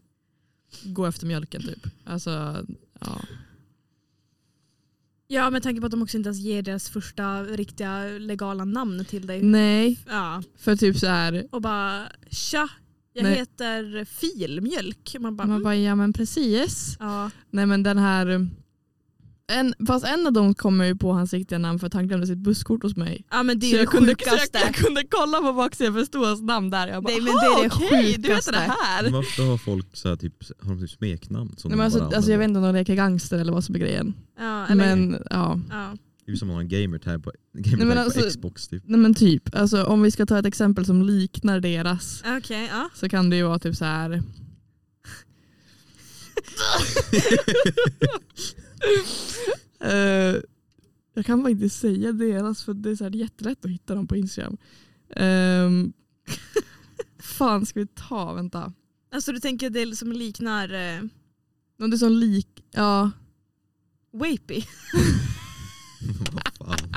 Speaker 3: gå efter mjölken typ. Alltså, ja.
Speaker 2: Ja, med tanke på att de också inte ens ger deras första riktiga legala namn till dig.
Speaker 3: Nej,
Speaker 2: Ja,
Speaker 3: för typ så här.
Speaker 2: och bara tja, jag
Speaker 3: Nej.
Speaker 2: heter filmjölk. Man bara,
Speaker 3: Man
Speaker 2: mm.
Speaker 3: bara, ja men precis.
Speaker 2: ja.
Speaker 3: Nej men den här. En, fast en av dem kommer ju på hans riktiga namn för att han glömde sitt busskort hos mig.
Speaker 2: ja, men det
Speaker 3: Så
Speaker 2: är det
Speaker 3: jag, kunde, så
Speaker 2: sjukaste.
Speaker 3: jag, jag kunde kolla på baksidan för det stod hans namn där. Jag bara,
Speaker 2: Nej, men det är det
Speaker 3: "Aha, okej, du vet
Speaker 2: sjukaste."
Speaker 3: det här.
Speaker 1: Men Varför har folk så här, typ, har de typ smeknamn? Som
Speaker 3: Nej,
Speaker 1: de
Speaker 3: men alltså,
Speaker 1: bara
Speaker 3: alltså jag vet
Speaker 1: använder?
Speaker 3: inte om de leker gangster eller vad som är grejen.
Speaker 2: Ja, eller,
Speaker 3: Men ja.
Speaker 2: ja.
Speaker 1: Typ som att ha en gamertag på, gamertag
Speaker 3: men
Speaker 1: på
Speaker 3: alltså- *laughs*
Speaker 1: Xbox typ. *laughs*
Speaker 3: Nej men typ, alltså, om vi ska ta ett exempel som liknar deras
Speaker 2: Okej, ja.
Speaker 3: så kan det ju vara typ så
Speaker 2: *laughs*
Speaker 3: här. Eh, jag kan faktiskt inte säga deras för det är så här jättelätt att hitta dem på Instagram. Um, *laughs* fan ska vi ta, vänta.
Speaker 2: Alltså du tänker det som liknar eh,
Speaker 3: Någon som lik, ja.
Speaker 2: Wapey?
Speaker 1: Vad fan.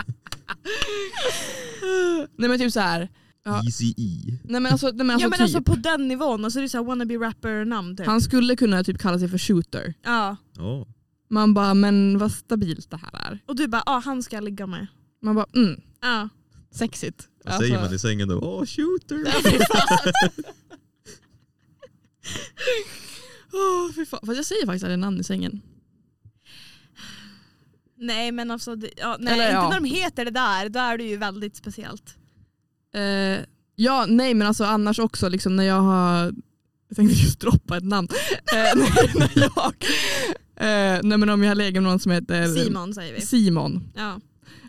Speaker 3: Nej men typ så här. Ja.
Speaker 1: Easy E.
Speaker 3: Nej men alltså, nej, men alltså,
Speaker 2: ja men
Speaker 3: typ.
Speaker 2: alltså på den nivån, alltså det är såhär wannabe rapper namn typ.
Speaker 3: Han skulle kunna typ kalla sig för shooter.
Speaker 2: Ja.
Speaker 1: Ja.
Speaker 3: Man bara, men vad stabilt det här är.
Speaker 2: Och du bara, ah, han ska jag ligga med.
Speaker 3: Man bara, mm,
Speaker 2: Ja.
Speaker 3: sexigt.
Speaker 1: Vad säger
Speaker 3: Alltså-
Speaker 1: man i sängen då?
Speaker 3: *laughs*
Speaker 1: Åh, shooter!
Speaker 3: Åh, fy fan. Fast jag säger faktiskt aldrig namn i sängen.
Speaker 2: Nej men alltså, det, ja, nej,
Speaker 3: Eller,
Speaker 2: inte
Speaker 3: ja.
Speaker 2: när de heter det där, då är det ju väldigt speciellt.
Speaker 3: Eh, ja, nej men alltså annars också liksom när jag har... Jag tänkte just droppa ett namn. Eh, *laughs* när, när jag... Eh, nej men om jag har legat med någon som heter
Speaker 2: Simon säger vi.
Speaker 3: Simon.
Speaker 2: Ja.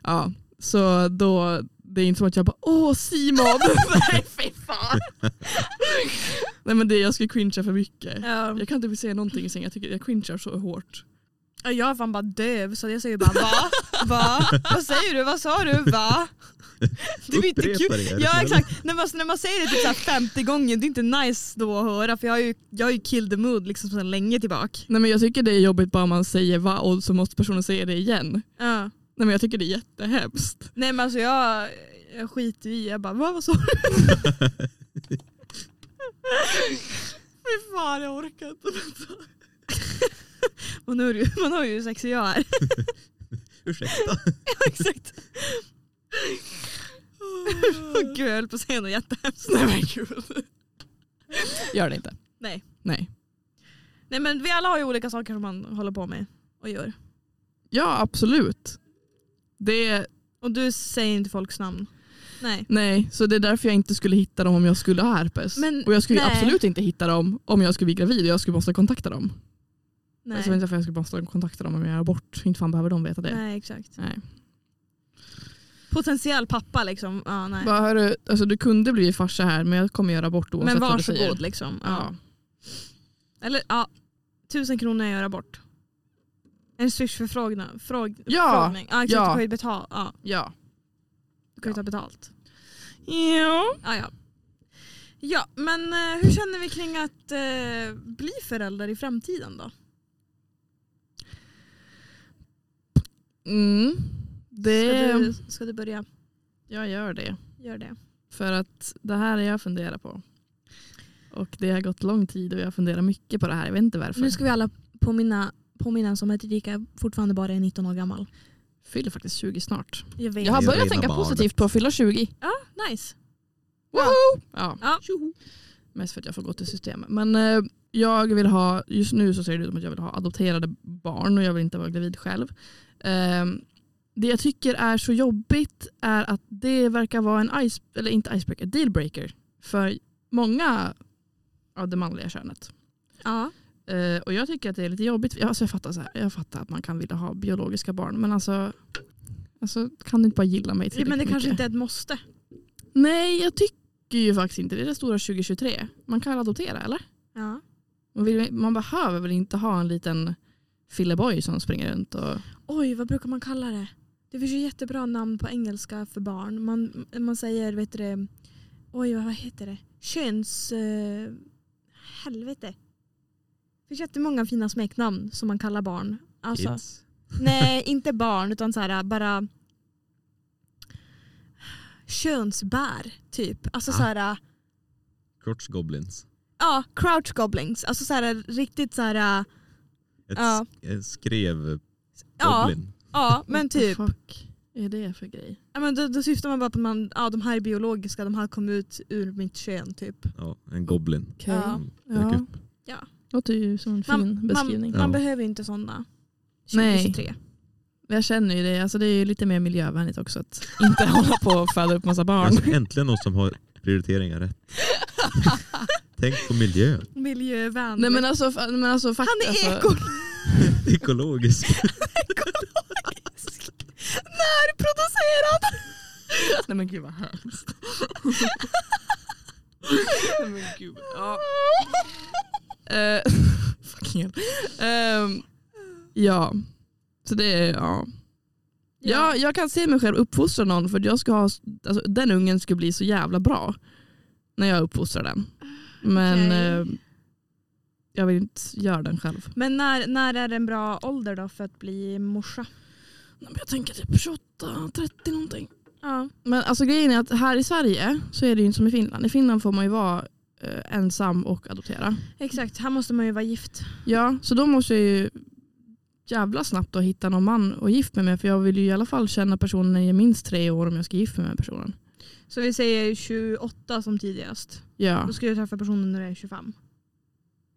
Speaker 3: Ja, så då... Det är inte som att jag bara åh Simon. *laughs* nej fy fan. nej men det, jag skulle cringea för mycket.
Speaker 2: Ja.
Speaker 3: Jag kan inte säga någonting i sängen. Jag, tycker, jag cringear så hårt.
Speaker 2: Ja, Jag är fan bara döv så jag säger bara va? Va? Vad säger du? Vad sa du? Va? Det är inte kul.
Speaker 1: Upprepa det, är det
Speaker 2: Ja
Speaker 1: snäll?
Speaker 2: exakt, Nej, men alltså, när man säger det typ så här 50 gånger det är inte nice då att höra för jag har ju, jag har ju killed the mood liksom sedan länge tillbaka.
Speaker 3: Nej men jag tycker det är jobbigt bara man säger va och så måste personen säga det igen.
Speaker 2: Ja.
Speaker 3: Nej men jag tycker det är jättehemskt.
Speaker 2: Nej men alltså jag, jag skiter i jag bara va, vad sa du? Fy fan jag orkar *laughs* inte. vänta. man, hör ju, man hör ju hur sexig jag är.
Speaker 1: Ursäkta.
Speaker 2: Exakt. *laughs* Gud jag höll på att säga något jättehemskt.
Speaker 3: Nej men gud. Gör det inte.
Speaker 2: Nej.
Speaker 3: Nej.
Speaker 2: Nej men vi alla har ju olika saker som man håller på med och gör.
Speaker 3: Ja absolut. Det,
Speaker 2: Och du säger inte folks namn. Nej.
Speaker 3: nej, så det är därför jag inte skulle hitta dem om jag skulle ha herpes.
Speaker 2: Men-
Speaker 3: och jag skulle ju
Speaker 2: nej.
Speaker 3: absolut inte hitta dem om jag skulle bli gravid och jag skulle måste kontakta dem.
Speaker 2: Nej,
Speaker 3: Alltså, jag vet inte varför jag skulle måste kontakta dem om jag gör abort. Inte fan behöver de veta det.
Speaker 2: nej exakt.
Speaker 3: Nej.
Speaker 2: Potentiell pappa liksom. Ja, nej.
Speaker 3: Bara, hörru, alltså, du kunde bli farsa här men jag kommer göra abort oavsett
Speaker 2: Men
Speaker 3: vad du säger.
Speaker 2: varsågod liksom. Ja.
Speaker 3: Ja.
Speaker 2: Eller ja, tusen kronor jag gör abort. En swish-förfrågning. Fråg,
Speaker 3: Ja,
Speaker 2: förfrågning. ja, exakt,
Speaker 3: ja.
Speaker 2: Du kan ju betala. Ja,
Speaker 3: Ja.
Speaker 2: du kan ju ta betalt.
Speaker 3: Ja.
Speaker 2: Ja, ja. ja men eh, hur känner vi kring att eh, bli förälder i framtiden då?
Speaker 3: Mm.
Speaker 2: Ska,
Speaker 3: Det,
Speaker 2: du, ska du börja?
Speaker 3: Jag gör det.
Speaker 2: Gör det.
Speaker 3: För att det här är jag funderar på. Och det har gått lång tid och jag funderar mycket på det här. Jag vet inte varför.
Speaker 2: Nu ska vi alla påminna, påminna oss om att Erika fortfarande bara är 19 år gammal.
Speaker 3: Fyller faktiskt 20 snart.
Speaker 2: Jag vet.
Speaker 3: Jag har
Speaker 1: Det
Speaker 3: börjat
Speaker 1: rena
Speaker 3: tänka
Speaker 1: barnet.
Speaker 3: positivt på att fylla 20.
Speaker 2: Nice.
Speaker 3: Woho! Ja.
Speaker 2: Ja.
Speaker 3: Mest för att jag får gå till systemet. Men eh, jag vill ha, just nu så ser det ut som att jag vill ha adopterade barn och jag vill inte vara gravid själv. Ehm, det jag tycker är så jobbigt är att det verkar vara en ice, eller inte icebreaker, dealbreaker för många av det manliga könet.
Speaker 2: Ja.
Speaker 3: Eh, och jag tycker att det är lite jobbigt. Alltså jag, fattar så här, jag fattar att man kan vilja ha biologiska barn men alltså, alltså kan du inte bara gilla mig
Speaker 2: Men det
Speaker 3: tillräckligt
Speaker 2: kanske
Speaker 3: mycket?
Speaker 2: inte är ett måste.
Speaker 3: Nej jag tycker ju faktiskt inte det. är det stora 2023. Man kan adoptera eller?
Speaker 2: Ja.
Speaker 3: Man, vill, man behöver väl inte ha en liten filleboy som springer runt och...
Speaker 2: Oj, vad brukar man kalla det? Det finns ju jättebra namn på engelska för barn. Man, man säger, vet du det, oj vad heter det? Köns... Eh, helvete. Det finns jättemånga fina smeknamn som man kallar barn. Alltså,
Speaker 1: Kids. *laughs*
Speaker 2: nej, inte barn utan så här, bara... könsbär typ. Alltså
Speaker 1: Ah.
Speaker 2: så här,
Speaker 1: Crotch goblins.
Speaker 2: ja, crouch goblins. Alltså så här riktigt så här,
Speaker 1: Ett
Speaker 2: Ja.
Speaker 1: sk- eh, skrev
Speaker 2: ja,
Speaker 1: goblin.
Speaker 2: ja men typ.
Speaker 3: What the fuck är det för grej?
Speaker 2: Ja, men då, då syftar man bara på att man, ja, de här är biologiska, de här kom ut ur mitt kön typ.
Speaker 1: Ja, en goblin.
Speaker 3: Okej.
Speaker 2: Ja.
Speaker 1: Mm, dök
Speaker 3: Ja.
Speaker 1: upp.
Speaker 3: Låter ju som en fin
Speaker 2: Man, man,
Speaker 3: beskrivning.
Speaker 1: Ja.
Speaker 2: man behöver ju inte sådana.
Speaker 3: Nej.
Speaker 2: 2023.
Speaker 3: Jag känner ju det. Alltså det är ju lite mer miljövänligt också att *laughs* inte hålla på och föda upp massa barn.
Speaker 1: Alltså, äntligen någon som har prioriteringar
Speaker 2: *laughs*
Speaker 1: rätt. Tänk på miljön.
Speaker 2: Miljövänlig.
Speaker 3: Nej men alltså, fa- men alltså fakt,
Speaker 2: Han är
Speaker 3: alltså,
Speaker 2: eko
Speaker 1: *laughs* Ekologisk.
Speaker 2: ekologisk. Närproducerad.
Speaker 3: Nej men gud vad hemskt. Nej men gud. Ja. Eh, *laughs* fucking hell. Ehm, ja. Så det är, ja. Jag, jag kan se mig själv uppfostra någon för jag ska ha, alltså, den ungen skulle bli så jävla bra när jag uppfostrar den. Men
Speaker 2: Okej.
Speaker 3: eh, jag vill inte göra den själv.
Speaker 2: Men när, när är det en bra ålder då för att bli morsa?
Speaker 3: Nej, men Jag tänker typ 28, 30 någonting.
Speaker 2: Ja.
Speaker 3: Men alltså grejen är att här i Sverige så är det ju inte som i Finland. I Finland får man ju vara eh, ensam och adoptera.
Speaker 2: Exakt, här måste man ju vara gift.
Speaker 3: Ja, så då måste jag ju jävla snabbt då hitta någon man och gift mig med för jag vill ju i alla fall känna personen när jag är minst tre år om jag ska gifta mig med personen.
Speaker 2: Så vi säger 28 som tidigast.
Speaker 3: Ja,
Speaker 2: Då ska du träffa personen när du är 25.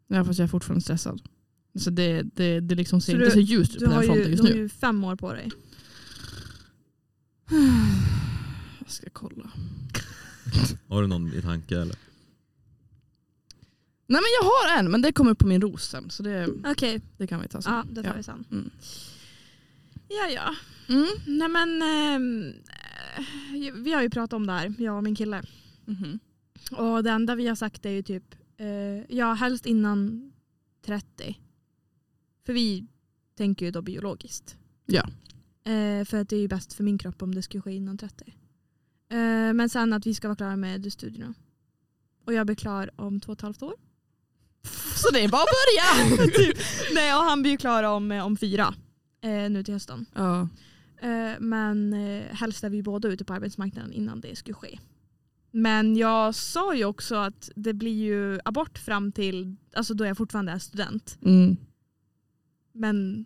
Speaker 3: ja fast jag är fortfarande stressad. Så det, det, det liksom ser
Speaker 2: Så
Speaker 3: inte så
Speaker 2: du-
Speaker 3: ljust ut på
Speaker 2: Du
Speaker 3: den
Speaker 2: har,
Speaker 3: här
Speaker 2: ju,
Speaker 3: fronten just
Speaker 2: du har
Speaker 3: nu.
Speaker 2: ju fem år på dig.
Speaker 3: *sighs* Jag ska kolla.
Speaker 1: Har du någon i tanke eller?
Speaker 3: Nej men jag har en men det kommer upp på min ros sen så det,
Speaker 2: Okej,
Speaker 3: det kan vi ta sen.
Speaker 2: ja, det tar
Speaker 3: Ja.
Speaker 2: vi sen.
Speaker 3: Mm.
Speaker 2: Ja, ja.
Speaker 3: Mm.
Speaker 2: Nej men, ehm, eh, vi har ju pratat om det här, jag och min kille.
Speaker 3: Mhm.
Speaker 2: Och det enda vi har sagt är ju typ, eh, ja helst innan 30. För vi tänker ju då biologiskt.
Speaker 3: Ja.
Speaker 2: Eh, för att det är ju bäst för min kropp om det skulle ske innan 30. Eh, men sen att vi ska vara klara med studierna. Och jag blir klar om två och ett halvt år.
Speaker 3: Så det är bara att börja!
Speaker 2: typ. Nej och han blir ju klar om, eh, om fyra. Eh, nu till hösten.
Speaker 3: ja.
Speaker 2: Eh, men eh, helst är vi båda ute på arbetsmarknaden innan det skulle ske. Men jag sa ju också att det blir ju abort fram till, alltså då jag fortfarande är student.
Speaker 3: Mm.
Speaker 2: Men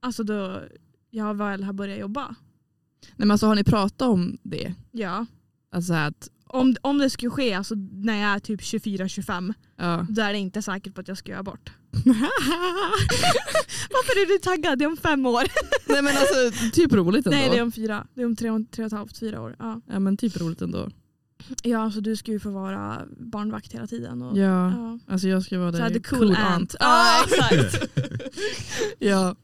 Speaker 2: alltså då jag väl har börjat jobba.
Speaker 3: Nej, men alltså, har ni pratat om det?
Speaker 2: Ja.
Speaker 3: Alltså att,
Speaker 2: Om, om det skulle ske, alltså när jag är typ 24-25, *laughs*
Speaker 3: ja.
Speaker 2: då är det inte säkert på att jag ska göra abort. Varför är du taggad? Det är om fem år.
Speaker 3: Nej men alltså typ roligt ändå.
Speaker 2: Nej det är om fyra. Det är om tre, och- tre och ett halvt, fyra år. Ja,
Speaker 3: Ja men typ roligt ändå.
Speaker 2: ja alltså du ska ju få vara barnvakt hela tiden. Och,
Speaker 3: Ja.
Speaker 2: ja.
Speaker 3: Alltså jag ska vara
Speaker 2: Så här,
Speaker 3: där
Speaker 2: the cool, aunt.
Speaker 3: Ja,
Speaker 2: Ja, exakt.
Speaker 3: *laughs* ja.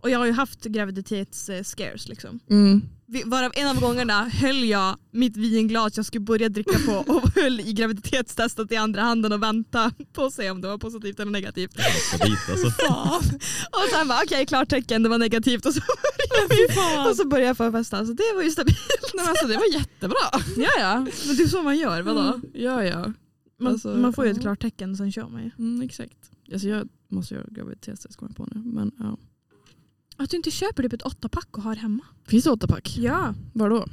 Speaker 2: Och jag har ju haft graviditets-scares. Liksom.
Speaker 3: Mm.
Speaker 2: Vi- Varav en av gångerna höll jag mitt vinglas jag skulle börja dricka på och *laughs* höll i graviditetstestet i andra handen och väntade på att se om det var positivt eller *laughs* negativt.
Speaker 1: Ska dit alltså.
Speaker 2: Fan. Och sen bara okej, klartecken, det var negativt och så *laughs* började vi, och så började jag förfesta. Så det var ju stabilt.
Speaker 3: Nej, men alltså, det var *laughs* jättebra.
Speaker 2: Ja, ja. Mm. Men det är så man gör, vadå?
Speaker 3: Mm. Ja ja.
Speaker 2: Man,
Speaker 3: Alltså,
Speaker 2: man får ju ett
Speaker 3: ja.
Speaker 2: klartecken sen kör man ju.
Speaker 3: Mm, exakt. Alltså, jag måste göra graviditetstest kommer jag på nu. Men, ja.
Speaker 2: Att du inte köper typ ett åttapack och har hemma.
Speaker 3: Finns det åttapack?
Speaker 2: Ja.
Speaker 3: Var då?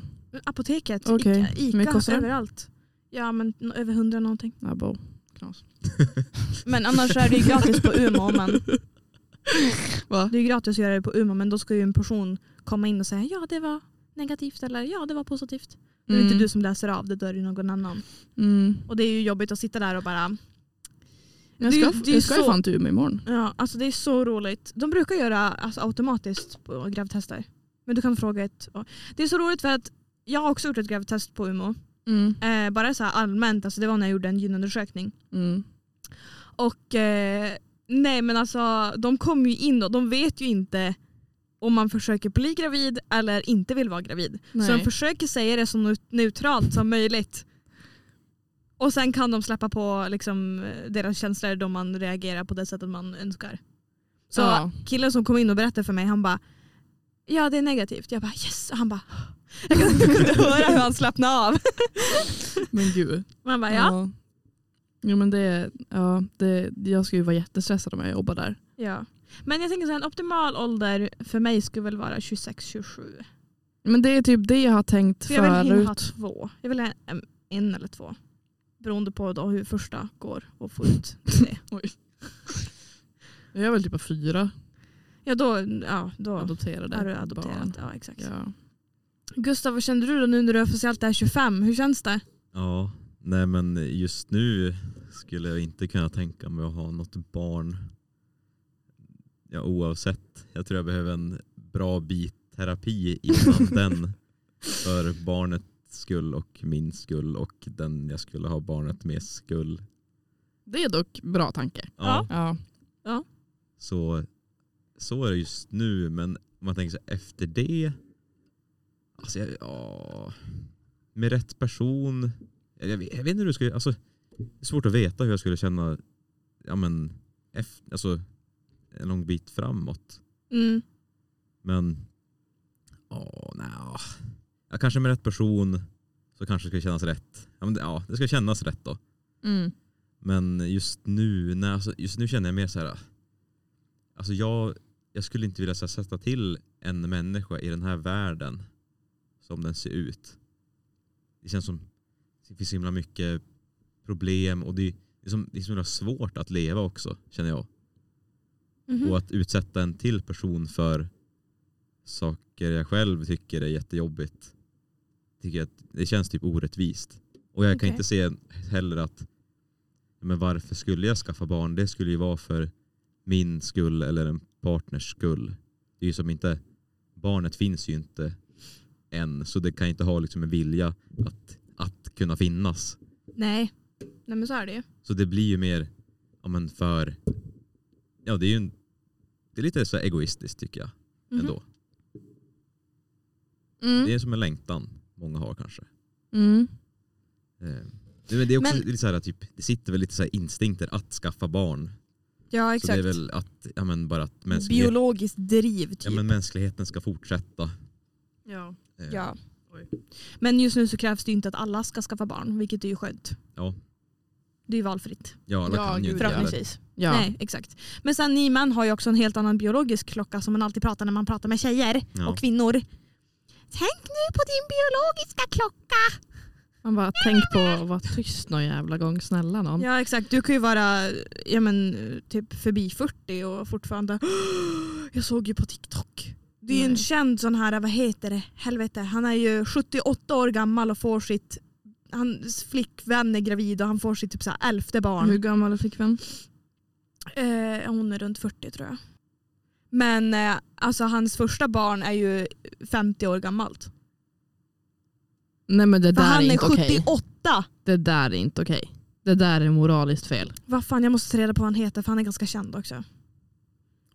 Speaker 2: Apoteket,
Speaker 3: Okej.
Speaker 2: Ica,
Speaker 3: Men det
Speaker 2: Ica
Speaker 3: kostar det?
Speaker 2: överallt. Ja men n- över hundra någonting.
Speaker 3: Abbo. Knas.
Speaker 2: Men annars är det ju gratis på Umeå. Men
Speaker 3: Va?
Speaker 2: *laughs* det är ju gratis att göra det på Umeå men då ska ju en person komma in och säga ja det var negativt eller ja det var positivt. Då är det inte du som läser av det, då är det någon annan.
Speaker 3: Mm.
Speaker 2: Och det är ju jobbigt att sitta där och bara
Speaker 3: Jag
Speaker 2: Det är
Speaker 3: ska,
Speaker 2: ju- det är ju
Speaker 3: jag ska ju
Speaker 2: så-
Speaker 3: fan till Umeå imorgon.
Speaker 2: ja alltså det är så roligt. De brukar göra alltså, automatiskt på gravtester. Men du kan fråga ett. och- Det är så roligt för att jag har också gjort ett gravtest på Umeå.
Speaker 3: Mm.
Speaker 2: Eh, bara så här allmänt, alltså det var när jag gjorde en gynundersökning.
Speaker 3: Mm.
Speaker 2: Och eh, nej men alltså de kommer ju in och de vet ju inte om man försöker bli gravid eller inte vill vara gravid. Så de
Speaker 3: Nej.
Speaker 2: försöker säga det så neut- neutralt som möjligt. Och sen kan de släppa på liksom, eh, deras känslor då man reagerar på det sättet man önskar. Så
Speaker 3: Ja.
Speaker 2: killen som kom in och berättade för mig han bara Ja det är negativt. Jag bara yes. Och han bara
Speaker 3: *laughs*
Speaker 2: Jag kunde- kunde höra hur han slappnade av.
Speaker 3: Men gud.
Speaker 2: Man bara ja.
Speaker 3: Jo, men det, ja, det, jag skulle ju vara jättestressad om jag jobbar där.
Speaker 2: Ja. Men jag tänker så här, en optimal ålder för mig skulle väl vara 26-27.
Speaker 3: Men det är typ det jag har tänkt
Speaker 2: För jag vill hinna ha
Speaker 3: förut.
Speaker 2: två. Jag vill ha en, en eller två. Beroende på då hur första går och få ut
Speaker 3: *laughs*
Speaker 2: det.
Speaker 3: Jag vill typ ha fyra
Speaker 2: Ja då, ja, då
Speaker 3: adopterade
Speaker 2: är du adopterad. Ja, exakt.
Speaker 3: Ja.
Speaker 2: Gustav, vad kände du då nu när du officiellt är 25? Hur känns det?
Speaker 1: Ja, nej men just nu skulle jag inte kunna tänka mig att ha något barn. Ja, oavsett. Jag tror jag behöver en bra bit terapi innan den. För barnets skull och min skull och den jag skulle ha barnet med skull.
Speaker 3: Det är dock bra tanke.
Speaker 2: Ja.
Speaker 3: Ja.
Speaker 1: Så, så är det just nu. Men om man tänker så här, efter det. Alltså jag, ja, med rätt person. Jag, jag, vet, jag vet inte hur du skulle, alltså, det är svårt att veta hur jag skulle känna ja, men, efter, alltså, en lång bit framåt.
Speaker 2: Mm.
Speaker 1: Men ja, nej, ja, kanske med rätt person så kanske det skulle kännas rätt. Ja, men, det- ja, det ska kännas rätt då.
Speaker 3: Mm.
Speaker 1: Men just nu, nej, alltså, just nu känner jag mer så här. Alltså jag, jag skulle inte vilja så här, sätta till en människa i den här världen som den ser ut. Det känns som det finns så himla mycket problem och det, det är, som, det är så himla svårt att leva också känner jag.
Speaker 2: Mhm.
Speaker 1: Och att utsätta en till person för saker jag själv tycker är jättejobbigt. Tycker jag att det känns typ orättvist. Och jag
Speaker 2: Okej.
Speaker 1: kan inte se heller att men varför skulle jag skaffa barn? Det skulle ju vara för min skull eller en partners skull. Det är ju som inte, barnet finns ju inte än så det kan ju inte ha liksom en vilja att, att kunna finnas.
Speaker 2: Nej. Nej men så är det ju.
Speaker 1: Så det blir ju mer ja, men för, ja det är ju en, det är lite så här egoistiskt tycker jag
Speaker 2: Mhm.
Speaker 1: ändå.
Speaker 3: Mm.
Speaker 2: Mm.
Speaker 1: Det är som en längtan många har kanske.
Speaker 3: Mm.
Speaker 1: Eh, nej, men det är också
Speaker 2: Men-
Speaker 1: lite så här att typ, det sitter väl lite så här instinkter att skaffa barn.
Speaker 2: Ja
Speaker 1: Så det
Speaker 2: exakt.
Speaker 1: är väl att, ja, men bara att mänsklighet,
Speaker 2: Biologiskt driv typ.
Speaker 1: ja, men mänskligheten ska fortsätta.
Speaker 3: Ja.
Speaker 1: Eh,
Speaker 2: Ja.
Speaker 3: Oj.
Speaker 2: Men just nu så krävs det ju inte att alla ska skaffa barn, vilket är ju skönt.
Speaker 1: Ja.
Speaker 2: Det är ju valfritt,
Speaker 1: ja, alla
Speaker 3: Ja,
Speaker 1: kan ju
Speaker 3: gud,
Speaker 1: inte heller.
Speaker 2: förhoppningsvis.
Speaker 3: Ja.
Speaker 2: Nej, exakt. Men sen ni män har ju också en helt annan biologisk klocka som man alltid pratar när man pratar med tjejer
Speaker 1: Ja.
Speaker 2: och kvinnor. Tänk nu på din biologiska klocka!
Speaker 3: Man bara tänk på att vara tyst någon jävla gång, snälla någon.
Speaker 2: Ja exakt, du kan ju vara ja, men, typ förbi 40 och fortfarande Jag såg ju på TikTok. Det är ju en
Speaker 3: Nej.
Speaker 2: känd sån här, vad heter det, helvete. Han är ju 78 år gammal och får sitt, hans flickvän är gravid och han får sitt typ så här elfte barn.
Speaker 3: Hur gammal är flickvän?
Speaker 2: Eh, hon är runt 40 tror jag. Men eh, alltså hans första barn är ju 50 år gammalt.
Speaker 3: Nej men det
Speaker 2: För
Speaker 3: där
Speaker 2: han
Speaker 3: är
Speaker 2: är
Speaker 3: inte okej.
Speaker 2: 78!
Speaker 3: Det där är inte okej. Det där är moraliskt fel.
Speaker 2: Vad fan, jag måste ta reda på vad han heter för han är ganska känd också.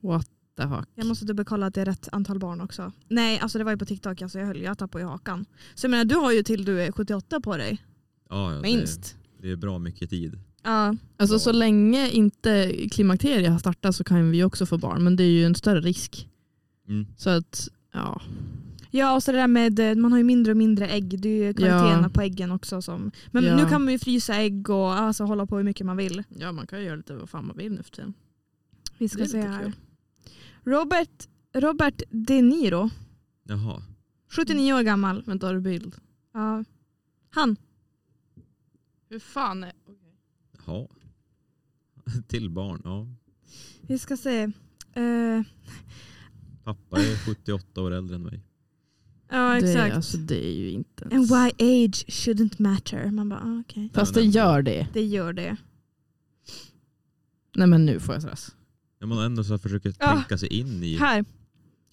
Speaker 3: What the fuck.
Speaker 2: Jag måste dubbelkolla att det är rätt antal barn också. Nej, alltså det var ju på TikTok, alltså jag höll jag tappade ju hakan. Så jag menar, du har ju till du är 78 på dig.
Speaker 1: Ja, ja, det,
Speaker 2: Minst.
Speaker 1: det är bra mycket tid.
Speaker 2: Ja,
Speaker 3: Alltså så länge inte klimakteriet har startat så kan vi också få barn. Men det är ju en större risk.
Speaker 1: Mm.
Speaker 3: Så att ja.
Speaker 2: ja och så det där med, eh, man har ju mindre och mindre ägg. Det är ju kvaliteterna
Speaker 3: Ja.
Speaker 2: på äggen också som... Men
Speaker 3: Ja.
Speaker 2: nu kan man ju frysa ägg och alltså, hålla på hur mycket man vill.
Speaker 3: Ja man kan ju göra lite vad fan man vill nu för tiden.
Speaker 2: Vi ska
Speaker 3: Det är
Speaker 2: se
Speaker 3: lite
Speaker 2: här.
Speaker 3: kul.
Speaker 2: Robert, Robert De Niro,
Speaker 1: Jaha.
Speaker 2: 79 år gammal.
Speaker 3: Vänta har du bild?
Speaker 2: Ja. Han.
Speaker 3: Hur fan är...
Speaker 1: Jaha. *laughs* Till barn, ja.
Speaker 2: Vi ska se. Eh,
Speaker 1: Pappa är 78 år äldre än mig.
Speaker 2: ja
Speaker 3: Det,
Speaker 2: exakt.
Speaker 3: alltså, det är ju inte ens...
Speaker 2: And why age shouldn't matter. Man bara, ah, okej.
Speaker 3: Fast det gör det.
Speaker 2: Det gör det.
Speaker 3: Nej men nu får jag stress.
Speaker 1: Ja, man ändå så här försöker
Speaker 2: Ja.
Speaker 1: tänka sig in i...
Speaker 2: Här.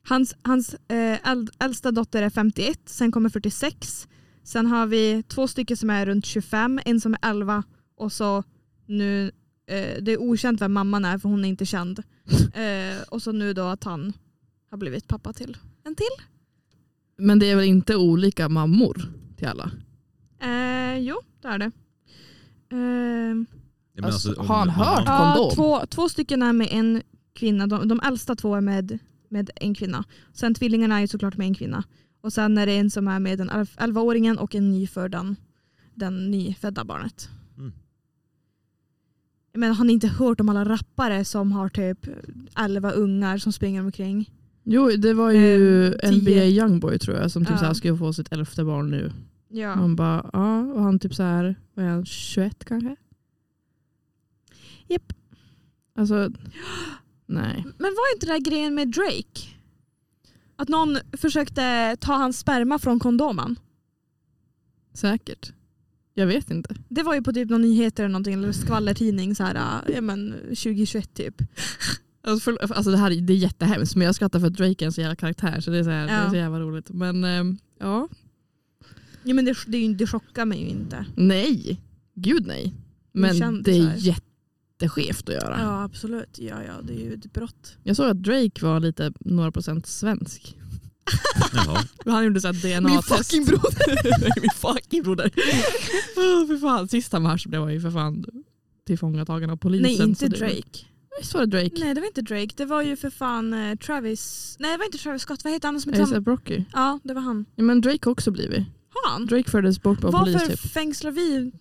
Speaker 2: Hans, hans eh, äld, äldsta dotter är 51, sen kommer 46. Sen har vi två stycken som är runt 25, en som är 11 och så nu, eh, det är okänt vem mamman är för hon är inte känd. Eh, och så nu då att han har blivit pappa till en till.
Speaker 3: Men det är väl inte olika mammor till alla?
Speaker 2: Eh, jo, det är det. Eh,
Speaker 1: Ja, men
Speaker 3: Alltså,
Speaker 1: om-
Speaker 3: har han
Speaker 1: om
Speaker 3: hört?
Speaker 1: man-
Speaker 2: ja,
Speaker 3: Kondom.
Speaker 2: två, två stycken är med en kvinna, de, de äldsta två är med, med en kvinna. Sen tvillingarna är ju såklart med en kvinna. Och sen är det en som är med den elf- 11-åringen och en ny för den, den nyfödda barnet.
Speaker 1: Mm.
Speaker 2: Men har ni inte hört om alla rappare som har typ 11 ungar som springer omkring?
Speaker 3: Jo, det var ju
Speaker 2: Eh, tio.
Speaker 3: NBA Youngboy tror jag som typ
Speaker 2: Ja.
Speaker 3: så här skulle få sitt elfte barn nu.
Speaker 2: Ja.
Speaker 3: Man bara, ja, och han typ så här, vad är han, 21 kanske?
Speaker 2: Japp.
Speaker 3: Alltså, nej.
Speaker 2: Men var inte det där grejen med Drake? Att någon försökte ta hans sperma från kondomen.
Speaker 3: Säkert. Jag vet inte.
Speaker 2: Det var ju på typ någon nyheter eller någonting, eller skvallertidning så här, äh, ja, men 2021 typ.
Speaker 3: Alltså, för, alltså det här är- det är jättehemskt men jag skrattar för att Drake är en så jävla karaktär så det är så, här, det är
Speaker 2: Ja.
Speaker 3: så jävla roligt. Men ehm, ja,
Speaker 2: Ja, men det, det, är ju- det chockar mig ju inte.
Speaker 3: nej. Gud nej. Men
Speaker 2: kändisar.
Speaker 3: det är jätteskevt att göra.
Speaker 2: Ja absolut, ja, ja, det är ju ett brott.
Speaker 3: Jag såg att Drake var lite några procent svensk.
Speaker 1: Jaha.
Speaker 3: Han gjorde så här DNA-test. *laughs*
Speaker 2: Min fucking
Speaker 3: broder. Min fucking
Speaker 2: *laughs*
Speaker 3: broder. Oh, fy fan. Sist han var här så blev han ju för fan tillfångatagen av polisen.
Speaker 2: Nej inte
Speaker 3: så det-
Speaker 2: Drake.
Speaker 3: Visst var det Drake?
Speaker 2: Nej det var inte Drake, det var ju för fan eh, Travis, nej det var inte Travis Scott, vad heter han som inte
Speaker 3: A$AP Rocky.
Speaker 2: Ja det var han.
Speaker 3: Ja, men Drake har också blivit.
Speaker 2: Har han?
Speaker 3: Drake fördes bort av polis
Speaker 2: Varför
Speaker 3: typ.
Speaker 2: fängslar vi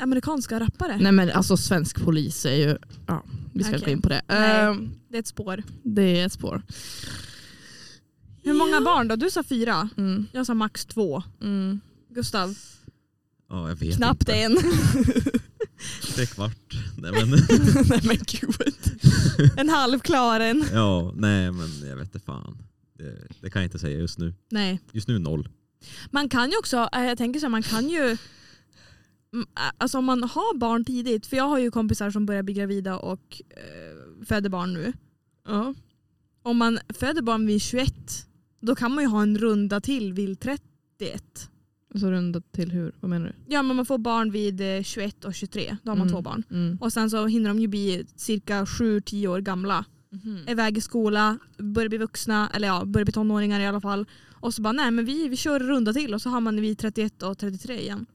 Speaker 2: amerikanska rappare?
Speaker 3: Nej men alltså svensk polis är ju, ja vi ska inte gå
Speaker 2: Okej.
Speaker 3: in på det.
Speaker 2: Nej.
Speaker 3: Ehm,
Speaker 2: Det är ett spår.
Speaker 3: det är ett spår.
Speaker 2: Hur många barn då? Du sa fyra,
Speaker 3: Mm,
Speaker 2: jag sa max två.
Speaker 3: mm.
Speaker 2: Gustav,
Speaker 1: Ja, jag vet
Speaker 2: knappt
Speaker 1: inte.
Speaker 2: en.
Speaker 1: Tre kvart. Nej men,
Speaker 3: *laughs* *laughs* Nej men gud.
Speaker 2: en halv klar en.
Speaker 1: ja, nej men jag vet inte fan. Det, det kan jag inte säga just nu.
Speaker 2: Nej.
Speaker 1: Just nu noll.
Speaker 2: Man kan ju också, eh, jag tänker så här, man kan ju Mm, eh, Alltså om man har barn tidigt, för jag har ju kompisar som börjar bli gravida och eh, föder barn nu.
Speaker 3: Ja.
Speaker 2: Om man föder barn vid 21, då kan man ju ha en runda till vid 31.
Speaker 3: Så runda till hur, vad menar
Speaker 2: Ja men man får barn vid eh, 21 och 23, då har man
Speaker 3: Mm.
Speaker 2: två barn.
Speaker 3: du? Mm.
Speaker 2: Och sen så hinner de ju bli cirka 7-10 år gamla.
Speaker 3: Mm-hmm.
Speaker 2: Är iväg i skola, börjar bli vuxna, eller ja börjar bli tonåringar i alla fall. Och så bara nej men vi, vi kör en runda till och så har man vid 31 och 33 igen.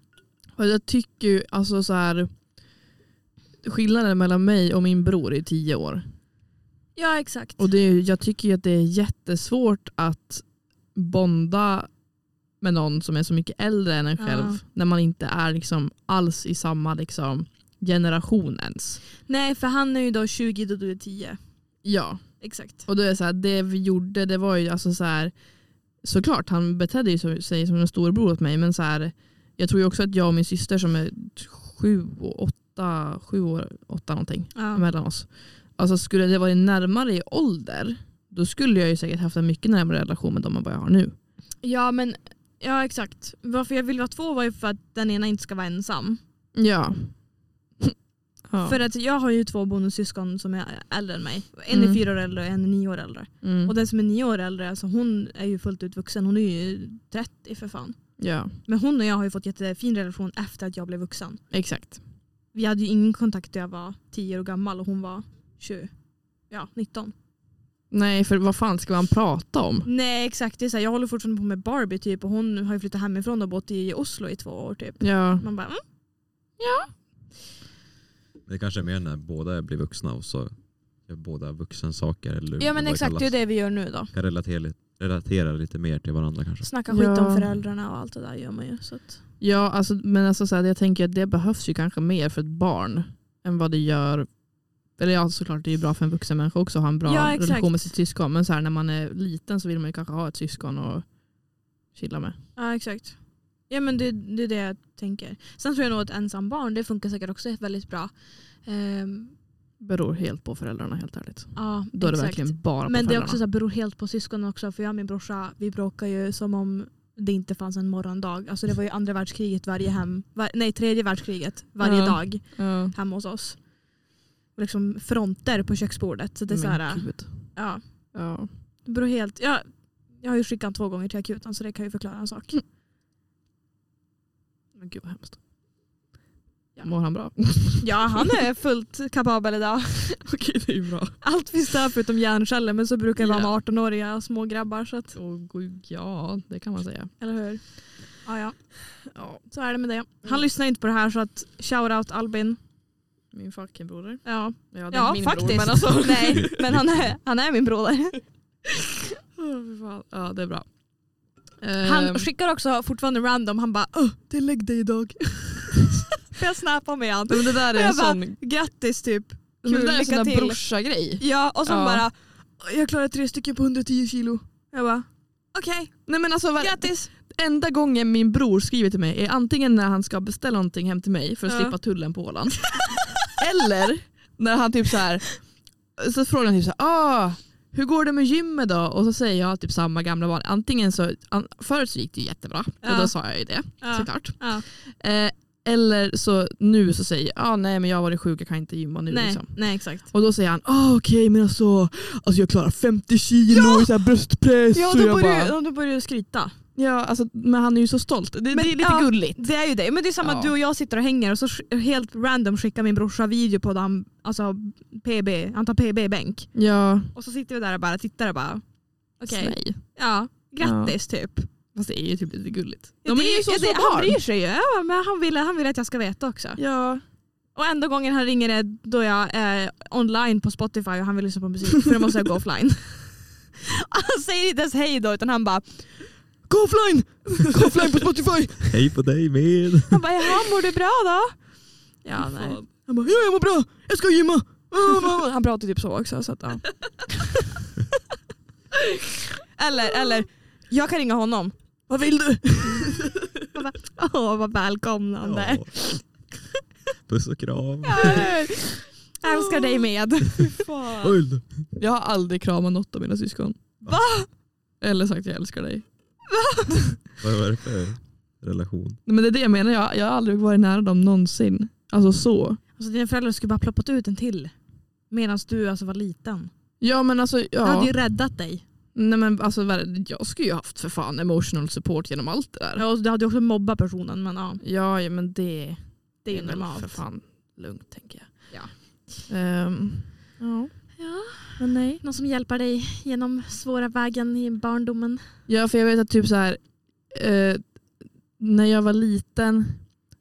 Speaker 3: Och jag tycker ju alltså så här skillnaden mellan mig och min bror är tio år.
Speaker 2: Ja exakt.
Speaker 3: Och det är, ju- jag tycker ju att det är jättesvårt att bonda med någon som är så mycket äldre än en
Speaker 2: Ja.
Speaker 3: själv när man inte är liksom alls i samma liksom generation ens.
Speaker 2: Nej för han är ju då 20 då du är 10.
Speaker 3: Ja,
Speaker 2: Exakt.
Speaker 3: och då är det så här, det vi gjorde det var ju alltså så här såklart han betedde ju så- sig som en storbror åt mig men så här jag tror ju också att jag och min syster som är sju och åtta, sju år, åtta någonting
Speaker 2: Ja.
Speaker 3: mellan oss. Alltså skulle det varit närmare i ålder, då skulle jag ju säkert haft en mycket närmare relation med dem än vad jag har nu.
Speaker 2: ja men ja exakt. Varför jag vill vara två var ju för att den ena inte ska vara ensam.
Speaker 3: Ja. ja.
Speaker 2: *laughs* För att jag har ju två bonussyskon som är äldre än mig. En
Speaker 3: Mm.
Speaker 2: är fyra år äldre och en är nio år äldre.
Speaker 3: mm.
Speaker 2: Och den som är nio år äldre, alltså hon är ju fullt ut vuxen. Hon är ju 30 för fan.
Speaker 3: ja,
Speaker 2: Men hon och jag har ju fått jättefin relation efter att jag blev vuxen.
Speaker 3: exakt.
Speaker 2: Vi hade ju ingen kontakt när jag var 10 år gammal och hon var 20. Ja, 19.
Speaker 3: Nej, för vad fan ska man prata om?
Speaker 2: Nej exakt, det är så här, jag håller fortfarande på med Barbie typ och hon har ju flyttat hemifrån och bott i Oslo i två år typ.
Speaker 3: Ja,
Speaker 2: Man bara mm.
Speaker 1: Det kanske är mer när båda blir vuxna och så gör båda vuxensaker. Eller
Speaker 2: Ja men
Speaker 1: vad
Speaker 2: exakt, det är
Speaker 1: kallas.
Speaker 2: det vi gör nu då.
Speaker 1: Kan relatera, lite- relatera lite mer till varandra kanske.
Speaker 2: Snacka skit
Speaker 3: Ja.
Speaker 2: om föräldrarna och allt det där gör man ju. Så att,
Speaker 3: ja alltså, men alltså, så här, jag tänker att det behövs ju kanske mer för ett barn än vad det gör eller ja, såklart det är ju bra för en vuxen människa också att ha en bra
Speaker 2: Ja, exakt.
Speaker 3: relation med sitt syskon. Men så här, när man är liten så vill man ju kanske ha ett syskon och chilla med.
Speaker 2: ja exakt. Ja men det, det är det jag tänker. Sen tror jag nog att ensam barn, det funkar säkert också väldigt bra. Ehm,
Speaker 3: Beror helt på föräldrarna helt ärligt.
Speaker 2: ja,
Speaker 3: Då är det
Speaker 2: exakt.
Speaker 3: verkligen bara på
Speaker 2: Men det är
Speaker 3: föräldrarna.
Speaker 2: också så här, beror helt på syskonen också. För jag och min brorsa, vi bråkar ju som om det inte fanns en morgondag. Alltså det var ju andra världskriget varje hem. Var, nej, tredje världskriget varje
Speaker 3: Ja.
Speaker 2: dag
Speaker 3: Ja.
Speaker 2: hemma hos oss. Och liksom fronter på köksbordet. Så det är så här, ja,
Speaker 3: Ja.
Speaker 2: det beror helt. Ja, jag har ju skickat två gånger till akuten så det kan ju förklara en sak.
Speaker 3: Men gud vad hemskt.
Speaker 2: Ja.
Speaker 3: Mår han
Speaker 2: *laughs*
Speaker 3: bra?
Speaker 2: *laughs* Ja, han är fullt kapabel idag.
Speaker 3: Okej, det är ju bra.
Speaker 2: Allt finns där förutom hjärnceller men så brukar det vara
Speaker 3: Ja.
Speaker 2: med 18-åriga och små grabbar. Så att,
Speaker 3: Och god- ja, det kan man säga.
Speaker 2: eller hur? Ja, ja,
Speaker 3: Ja,
Speaker 2: så är det med det. Han lyssnar inte på det här så att shout out Albin.
Speaker 3: min fucking broder.
Speaker 2: Ja,
Speaker 3: Ja,
Speaker 2: Ja, faktiskt.
Speaker 3: men alltså.
Speaker 2: *laughs* Nej, men han *laughs* är, han är min broder.
Speaker 3: Åh, fy fan. Ja, det är bra.
Speaker 2: Han
Speaker 3: Ehm,
Speaker 2: *laughs* skickar också fortfarande random. Han bara "Åh, det är lägg dig idag. För jag snappade med han.
Speaker 3: Men det där *laughs*
Speaker 2: Och
Speaker 3: är en
Speaker 2: jag bara,
Speaker 3: sån,
Speaker 2: grattis typ.
Speaker 3: men det
Speaker 2: Kul,
Speaker 3: där är en
Speaker 2: lycka
Speaker 3: sån där
Speaker 2: till.
Speaker 3: brorsa-grej.
Speaker 2: Ja, och så
Speaker 3: Ja.
Speaker 2: bara, jag klarade tre stycken på 110 kilo. Jag bara, okej,
Speaker 3: Nej men alltså var-
Speaker 2: grattis.
Speaker 3: enda gången min bror skriver till mig är antingen när han ska beställa någonting hem till mig för att
Speaker 2: Ja.
Speaker 3: slippa tullen på Åland. *laughs* Eller när han typ så här så frågar han typ så här, ah, hur går det med gymmet då? Och så säger jag typ samma gamla val. Antingen så, an, förut så gick det ju jättebra och
Speaker 2: Ja.
Speaker 3: då sa jag ju det
Speaker 2: Ja.
Speaker 3: såklart.
Speaker 2: Ja.
Speaker 3: Eh, eller så nu så säger jag, ah, nej men jag har varit sjuk, jag kan inte gymma nu.
Speaker 2: Nej,
Speaker 3: Liksom.
Speaker 2: nej exakt.
Speaker 3: Och då säger han, ah, okej men alltså, alltså jag klarar 50 kilo i så här bröstpress.
Speaker 2: Ja,
Speaker 3: och
Speaker 2: då
Speaker 3: jag
Speaker 2: börjar,
Speaker 3: bara,
Speaker 2: du, då börjar du skryta.
Speaker 3: ja alltså, men han är ju så stolt. Det,
Speaker 2: Men,
Speaker 3: det är lite
Speaker 2: ja.
Speaker 3: gulligt.
Speaker 2: Det är ju det. Men det är samma
Speaker 3: Ja.
Speaker 2: att du och jag sitter och hänger och så sk- helt random skickar min brorsa video på dem, alltså PB, han tar PB-bänk.
Speaker 3: Ja,
Speaker 2: Och så sitter vi där och bara tittar och bara, okej,
Speaker 3: nej.
Speaker 2: ja, grattis typ.
Speaker 3: Fast det är ju typ lite gulligt.
Speaker 2: Ja,
Speaker 3: De
Speaker 2: det-
Speaker 3: är ju så
Speaker 2: ja,
Speaker 3: små
Speaker 2: det- Han
Speaker 3: barn.
Speaker 2: bryr sig ju. Ja, men han vill, han vill att jag ska veta också.
Speaker 3: Ja.
Speaker 2: Och enda gången han ringer är då jag är online på Spotify och han vill lyssna på musik för då måste jag gå offline. han säger inte ens hej då utan han bara
Speaker 3: Gå offline! Gå offline på Spotify!
Speaker 1: Hej på dig med!
Speaker 2: Han bara, jaha mår du bra då? Ja, nej.
Speaker 1: Fan.
Speaker 3: Han bara, ja jag mår bra, jag ska
Speaker 2: *laughs*
Speaker 3: gymma!
Speaker 2: Han pratar typ så också. Så att, ja. eller, eller, jag kan ringa honom.
Speaker 3: Vad vill du?
Speaker 2: Åh vad välkomnande.
Speaker 1: Ja. Puss och kram.
Speaker 2: Jag älskar dig med.
Speaker 1: Oj då.
Speaker 3: Jag har aldrig kramat något av mina syskon.
Speaker 1: Va?
Speaker 3: Eller sagt jag älskar dig.
Speaker 1: Vad är det för relation?
Speaker 3: Nej, Men det är det jag menar, jag, jag har aldrig varit nära dem någonsin. Alltså så.
Speaker 2: *laughs* Alltså, dina föräldrar skulle bara ploppat ut en till. Medan du alltså var liten.
Speaker 3: Ja men alltså,
Speaker 2: Det hade
Speaker 3: ja.
Speaker 2: ju räddat dig.
Speaker 3: Nej, men alltså vad- jag skulle ju haft för fan emotional support genom allt det där.
Speaker 2: Ja, och du hade ju också mobbat personen men ja,
Speaker 3: Ja, ja men det,
Speaker 2: det är ju
Speaker 3: väl för
Speaker 2: normalt.
Speaker 3: fan lugnt tänker jag.
Speaker 2: Ja.
Speaker 3: Ehm, ja.
Speaker 2: Ja,
Speaker 3: Men nej.
Speaker 2: någon som hjälper dig genom svåra vägen i barndomen.
Speaker 3: Ja, för jag vet att typ så här, eh, när jag var liten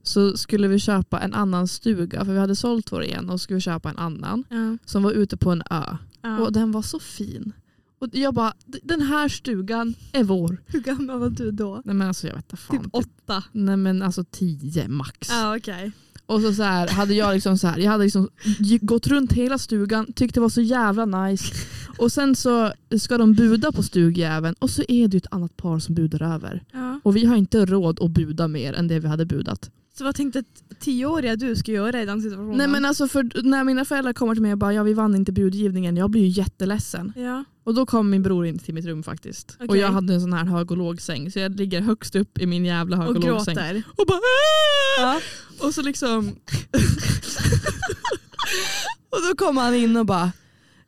Speaker 3: så skulle vi köpa en annan stuga, för vi hade sålt vår igen och skulle köpa en annan
Speaker 2: Ja,
Speaker 3: som var ute på en ö.
Speaker 2: ja.
Speaker 3: Och den var så fin. Och jag bara, "D- den här stugan är vår.
Speaker 2: hur gammal var du då?
Speaker 3: Nej men alltså jag vet inte fan.
Speaker 2: Typ åtta.
Speaker 3: Nej men alltså tio max.
Speaker 2: Ja, okej.
Speaker 3: Och så, så här, hade jag liksom så här, jag hade liksom g- gått runt hela stugan, tyckte det var så jävla
Speaker 2: *laughs*
Speaker 3: nice. Och sen så ska de buda på stugjäveln och så är det ju ett annat par som budar över.
Speaker 2: Ja.
Speaker 3: Och vi har inte råd att buda mer än det vi hade budat.
Speaker 2: Så vad tänkte t- tioåriga du skulle göra i den situationen?
Speaker 3: Nej men alltså för när mina föräldrar kommer till mig och bara ja vi vann inte budgivningen, jag blir ju jätteledsen.
Speaker 2: Ja.
Speaker 3: Och då kom min bror in till mitt rum faktiskt. Och
Speaker 2: Okej.
Speaker 3: jag hade en sån här hög och lågsäng så jag ligger högst upp i min jävla hög och,
Speaker 2: Och
Speaker 3: lågsäng.
Speaker 2: gråter.
Speaker 3: Och bara "Aah!"
Speaker 2: Ja.
Speaker 3: Och så
Speaker 2: *laughs*
Speaker 3: liksom... och då kom han in och bara...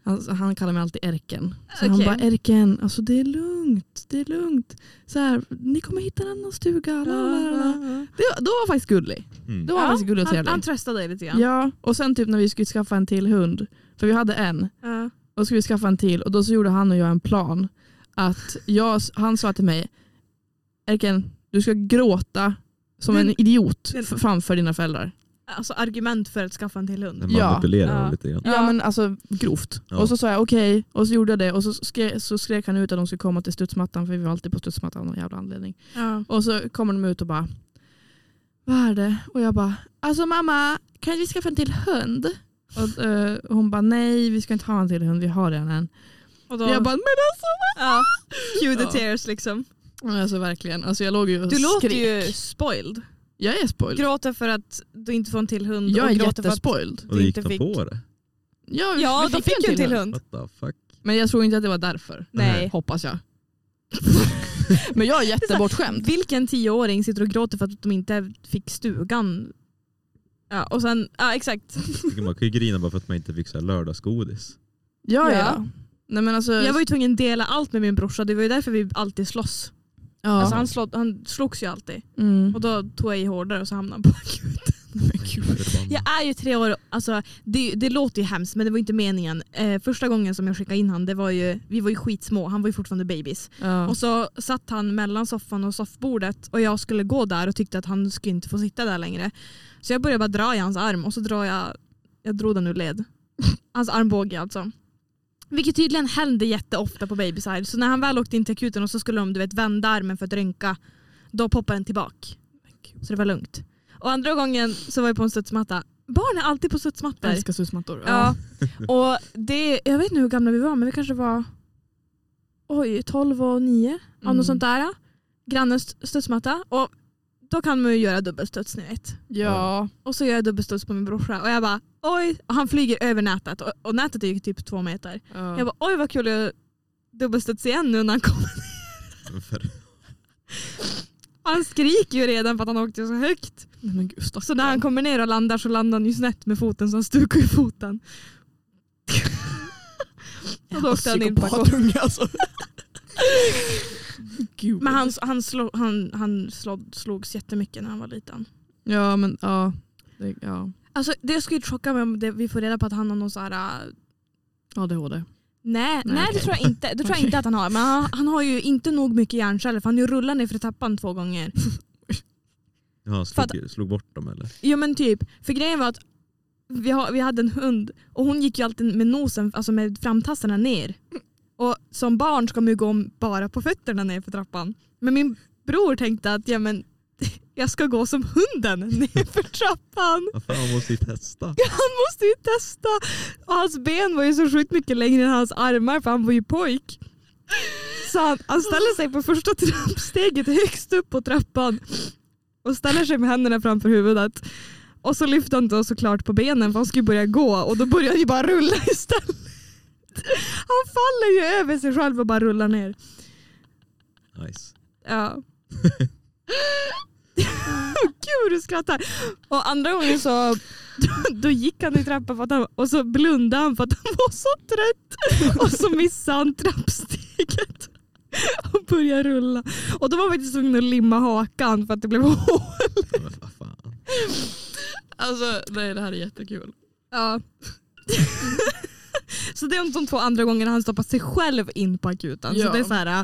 Speaker 3: Han, han kallar mig alltid Erken. Så han
Speaker 2: Okej.
Speaker 3: bara Erken, alltså det är lugnt, det är lugnt. Så här, ni kommer hitta en annan stuga. La, la, la, la. Det, då var han faktiskt gullig.
Speaker 1: Mm.
Speaker 3: Då var han faktiskt gullig och
Speaker 2: han,
Speaker 3: trevlig.
Speaker 2: han tröstade dig lite
Speaker 3: ja.
Speaker 2: grann.
Speaker 3: och sen typ när vi skulle skaffa en till hund, för vi hade en, och
Speaker 2: Ja.
Speaker 3: då skulle vi skaffa en till och då så gjorde han och jag en plan. Att jag, han sa till mig, Erken, du ska gråta som
Speaker 2: Men-
Speaker 3: en idiot
Speaker 2: men-
Speaker 3: f- framför dina föräldrar.
Speaker 2: Alltså argument för att skaffa en till hund.
Speaker 1: Den
Speaker 3: Ja.
Speaker 1: manipulerar
Speaker 2: Ja.
Speaker 1: ja. lite grann.
Speaker 3: Ja,
Speaker 2: Ja.
Speaker 3: men alltså grovt.
Speaker 1: Ja.
Speaker 3: Och så sa jag okej och så gjorde jag det och så, skre, så skrek han ut att de skulle komma till studsmattan för vi var alltid på studsmattan av någon jävla anledning.
Speaker 2: Ja.
Speaker 3: Och så kommer de ut och bara vad är det? Och jag bara alltså mamma kan vi skaffa en till hund? Och eh, hon bara nej vi ska inte ha en till hund vi har redan en.
Speaker 2: Och
Speaker 3: Och jag bara men
Speaker 2: ja. *laughs* Cue the
Speaker 3: Ja.
Speaker 2: tears liksom.
Speaker 3: alltså verkligen alltså jag låg ju och
Speaker 2: Du låter
Speaker 3: skrek.
Speaker 2: ju spoiled.
Speaker 3: Jag är spoiled.
Speaker 2: Gråter för att du inte får en till hund.
Speaker 3: Jag
Speaker 2: och
Speaker 3: är
Speaker 2: gråter för att...
Speaker 3: jättespoiled.
Speaker 1: Och det gick de
Speaker 2: inte fick-
Speaker 1: på det?
Speaker 3: Ja, vi-
Speaker 2: Ja,
Speaker 3: vi
Speaker 2: de fick ju en till hund.
Speaker 1: What the fuck?
Speaker 3: Men jag tror inte att det var därför.
Speaker 2: Nej.
Speaker 3: Hoppas
Speaker 2: *laughs*
Speaker 3: jag. men jag är jättebortskämd.
Speaker 2: Vilken tioåring sitter och gråter för att de inte fick stugan? Ja, och sen, ja exakt.
Speaker 1: Jag tycker Man kan ju grina bara för att man inte fick så här lördagsgodis.
Speaker 3: Ja, ja.
Speaker 2: Ja.
Speaker 3: Nej, men alltså,
Speaker 2: Jag var ju tvungen att dela allt med min brorsa, det var ju därför vi alltid slåss.
Speaker 3: ja.
Speaker 2: Alltså han, slå, han slogs ju alltid.
Speaker 3: mm.
Speaker 2: Och då tog jag i hårdare och så hamnade han på *laughs* akuten.
Speaker 1: Förbannat.
Speaker 2: Jag är ju tre år, alltså, det, det låter ju hemskt men det var inte meningen. Eh, första gången som jag skickade in han, det var ju, vi var ju skitsmå, han var ju fortfarande babys.
Speaker 3: ja.
Speaker 2: Och så satt han mellan soffan och soffbordet och jag skulle gå där och tyckte att han skulle inte få sitta där längre. Så jag började bara dra i hans arm och så drar jag, jag drog den
Speaker 3: *laughs*
Speaker 2: ur led. Hans armbåge alltså. Vilket tydligen hände jätteofta på babysar. Så när han väl åkte in till akuten och så skulle de du vet, vända armen för att rynka, då poppade den tillbaka. Så det var lugnt. Och andra gången så var jag på en studsmatta. Barn är alltid på
Speaker 3: Jag
Speaker 2: studsmattor.
Speaker 3: älskar susmattor.
Speaker 2: Ja. Och det, jag vet inte hur gamla vi var, men vi kanske var oj, 12 och 9. Mm.
Speaker 3: Mm.
Speaker 2: Något sånt där. Grannens studsmatta. Och då kan man ju göra dubbelstuds ni vet.
Speaker 3: Mm. Ja.
Speaker 2: Och så gör jag dubbelstuds på min brorsa och jag bara oj. Och han flyger över nätet och, och nätet är ju typ två meter.
Speaker 3: ja.
Speaker 2: Jag bara oj vad kul att dubbelstuds igen nu när han kommer.
Speaker 1: För,
Speaker 2: Och *laughs* Han skriker ju redan för att han åkte så högt.
Speaker 3: Nej, men gud, stackare.
Speaker 2: Så när han kommer ner och landar så landar han ju snett med foten så han stukar ju foten. och då åkte han in på akuten.
Speaker 3: Psykopatunge alltså. *laughs* gud.
Speaker 2: Men han, han, slog, han, han slog, slogs jättemycket när han var liten.
Speaker 3: Ja men ja. Det, ja.
Speaker 2: Alltså, det skulle ju chocka mig om det, vi får reda på att han har någon sån här... äh,
Speaker 3: ADHD.
Speaker 2: Nej,
Speaker 3: Nej,
Speaker 2: nej, det
Speaker 3: okej.
Speaker 2: tror jag inte, det tror jag
Speaker 3: Okej.
Speaker 2: inte att han har. Men han, han har ju inte nog mycket hjärnceller för han har ju rullat ner för trappan två gånger.
Speaker 1: ja, han slog, slog bort dem eller?
Speaker 2: Jo men typ, för grejen var att vi, har, vi hade en hund och hon gick ju alltid med nosen, alltså med framtassarna ner. Och som barn ska man ju gå bara på fötterna ner för trappan. Men min bror tänkte att ja, men, *laughs* jag ska gå som hunden *laughs* ner för trappan.
Speaker 1: Vad fan, man måste ju testa.
Speaker 2: Han måste ju testa. Och hans ben var ju så sjukt mycket längre än hans armar för han var ju pojk. Så han, han ställer sig på första trappsteget högst upp på trappan och ställer sig med händerna framför huvudet. Och så lyfter han då såklart på benen för han skulle börja gå och då börjar han ju bara rulla istället. Han faller ju över sig själv och bara rullar ner.
Speaker 1: Nice.
Speaker 2: Ja. *laughs* Gud du skrattar. Och andra gången så då gick han i trappan för att han, och så blundade han för att han var så trött. Och så missade han trappsteget. Och började rulla. Och då var vi faktiskt tvungna att limma hakan för att det blev hål.
Speaker 1: Ja, men vad fan.
Speaker 3: Alltså nej det här är jättekul.
Speaker 2: Ja. Så det är de två andra gångerna han stoppar sig själv in på akuten.
Speaker 3: Ja.
Speaker 2: Så det är så här,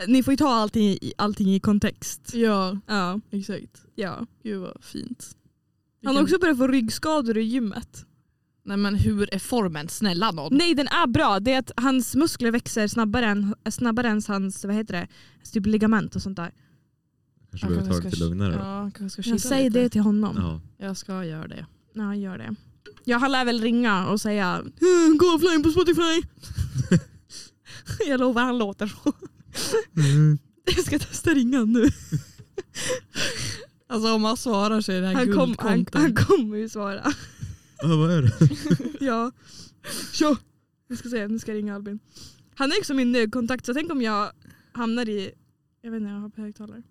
Speaker 2: äh, ni får ju ta allting, i- allting i kontext.
Speaker 3: Ja
Speaker 2: Ja.
Speaker 3: exakt.
Speaker 2: ja.
Speaker 3: Gud vad fint.
Speaker 2: Han har också börjat få ryggskador i gymmet.
Speaker 3: Nej men hur är formen? Snälla någon.
Speaker 2: Nej den är bra, det är att hans muskler växer snabbare än, snabbare än hans vad heter det? Typ ligament och sånt där.
Speaker 1: Kanske behöver ta det lite lugnare då.
Speaker 3: Ja, kanske ska
Speaker 2: Jag
Speaker 3: chilla
Speaker 2: säger
Speaker 3: lite.
Speaker 2: det till honom. Ja.
Speaker 1: Ja.
Speaker 3: Jag ska göra det.
Speaker 2: han gör det. Ja, han lär väl ringa och säga *laughs* "Eh, *laughs* Gå offline på Spotify. jag lovar han låter så. *laughs* Jag ska testa ringa nu.
Speaker 3: Alltså om man svarar så är det här
Speaker 2: Han, kom, han,
Speaker 3: guldcontent.
Speaker 2: han kommer ju svara.
Speaker 1: Ja, vad är det?
Speaker 2: Ja. Tja! Jag ska se, nu ska jag ringa Albin. Han är liksom min nödkontakt så tänk om jag hamnar i... Jag vet inte, jag har på högtalare.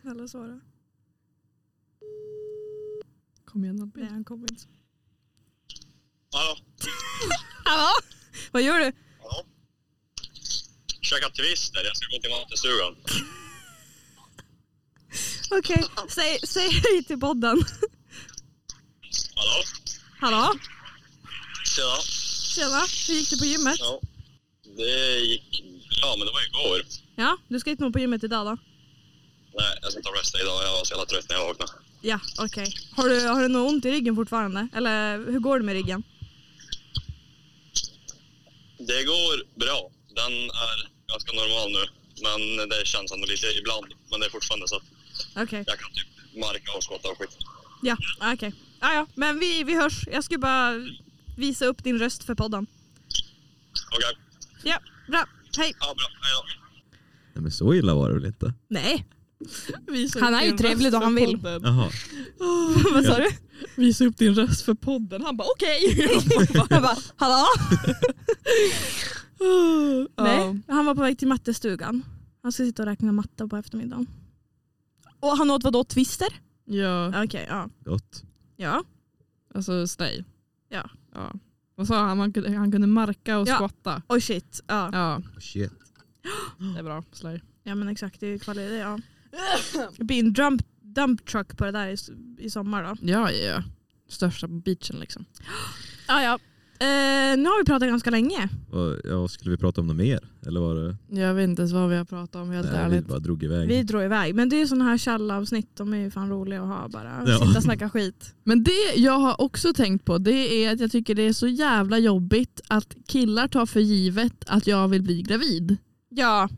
Speaker 2: Snälla svara.
Speaker 3: Kom igen
Speaker 2: Nej,
Speaker 3: Albin.
Speaker 2: han kommer inte.
Speaker 4: Hallå?
Speaker 2: Hallå? Vad gör du?
Speaker 4: Hallå? Käka Twister, jag ska gå till mattestugan.
Speaker 2: Okej, säg, säg hej till podden.
Speaker 4: Hallå?
Speaker 2: Hallå?
Speaker 4: Tjena.
Speaker 2: Tjena, hur gick det på gymmet?
Speaker 4: Ja. Det gick bra, men det var igår.
Speaker 2: Ja, du ska inte nog på gymmet idag då?
Speaker 4: Nej, jag ska inte rösta idag. Jag var så jävla trött när jag vaknade.
Speaker 2: Ja, okej. Har, du, har du något ont i ryggen fortfarande? Eller hur går det med ryggen?
Speaker 4: Det går bra. Den är ganska normal nu. Men det känns ändå lite ibland. Men det är fortfarande så att
Speaker 2: Okej.
Speaker 4: jag kan typ marka och skotta och skit.
Speaker 2: Ja, ah, okej. Ja, ja, men vi, vi hörs. Jag ska bara visa upp din röst för podden.
Speaker 4: Okej,
Speaker 2: Ja, bra. Hej.
Speaker 4: ja, bra. Hej då.
Speaker 1: Nej men så illa var det väl inte?
Speaker 2: Nej,
Speaker 3: Visa
Speaker 2: Han
Speaker 3: upp
Speaker 2: är ju
Speaker 3: din
Speaker 2: trevlig då
Speaker 3: röst
Speaker 2: han
Speaker 3: för
Speaker 2: vill.
Speaker 3: podden.
Speaker 1: Jaha.
Speaker 2: *laughs* vad sa du?
Speaker 3: Visa upp din röst för podden. Han bara okej.
Speaker 2: *laughs* Jag bara, hallå?
Speaker 3: *laughs* Ja.
Speaker 2: Nej, han var på väg till mattestugan. Han ska sitta och räkna matta på eftermiddagen. Och han åt vadå? Twister?
Speaker 3: Ja,
Speaker 2: Okej, ja.
Speaker 1: Gott.
Speaker 2: Ja,
Speaker 3: alltså stay.
Speaker 2: Ja.
Speaker 3: ja. Vad sa han? Han kunde, han kunde marka och
Speaker 2: Ja.
Speaker 3: skotta.
Speaker 2: oj shit. Ja.
Speaker 3: Ja,
Speaker 1: Oh, shit.
Speaker 3: det är bra. Slay.
Speaker 2: ja men exakt, det är ju kvalitet. *laughs* Ja. Det blir en dump, dump truck på det där i, i sommar då.
Speaker 3: Ja, ja, ja. Största på beachen liksom.
Speaker 2: Ah, Ja, ja. Eh, nu har vi pratat ganska länge.
Speaker 1: Vad- Ja, skulle vi prata om något mer? Eller var det?
Speaker 3: Jag vet inte ens vad vi har pratat om helt
Speaker 1: Nej, vi
Speaker 3: ärligt.
Speaker 1: bara drog iväg.
Speaker 2: Vi drar iväg. Men det är ju sådana här källavsnitt. De är ju fan roliga att ha bara.
Speaker 1: Ja.
Speaker 2: Sitta och snacka skit.
Speaker 3: Men det jag har också tänkt på det är att jag tycker det är så jävla jobbigt att killar tar för givet att jag vill bli gravid.
Speaker 2: Ja.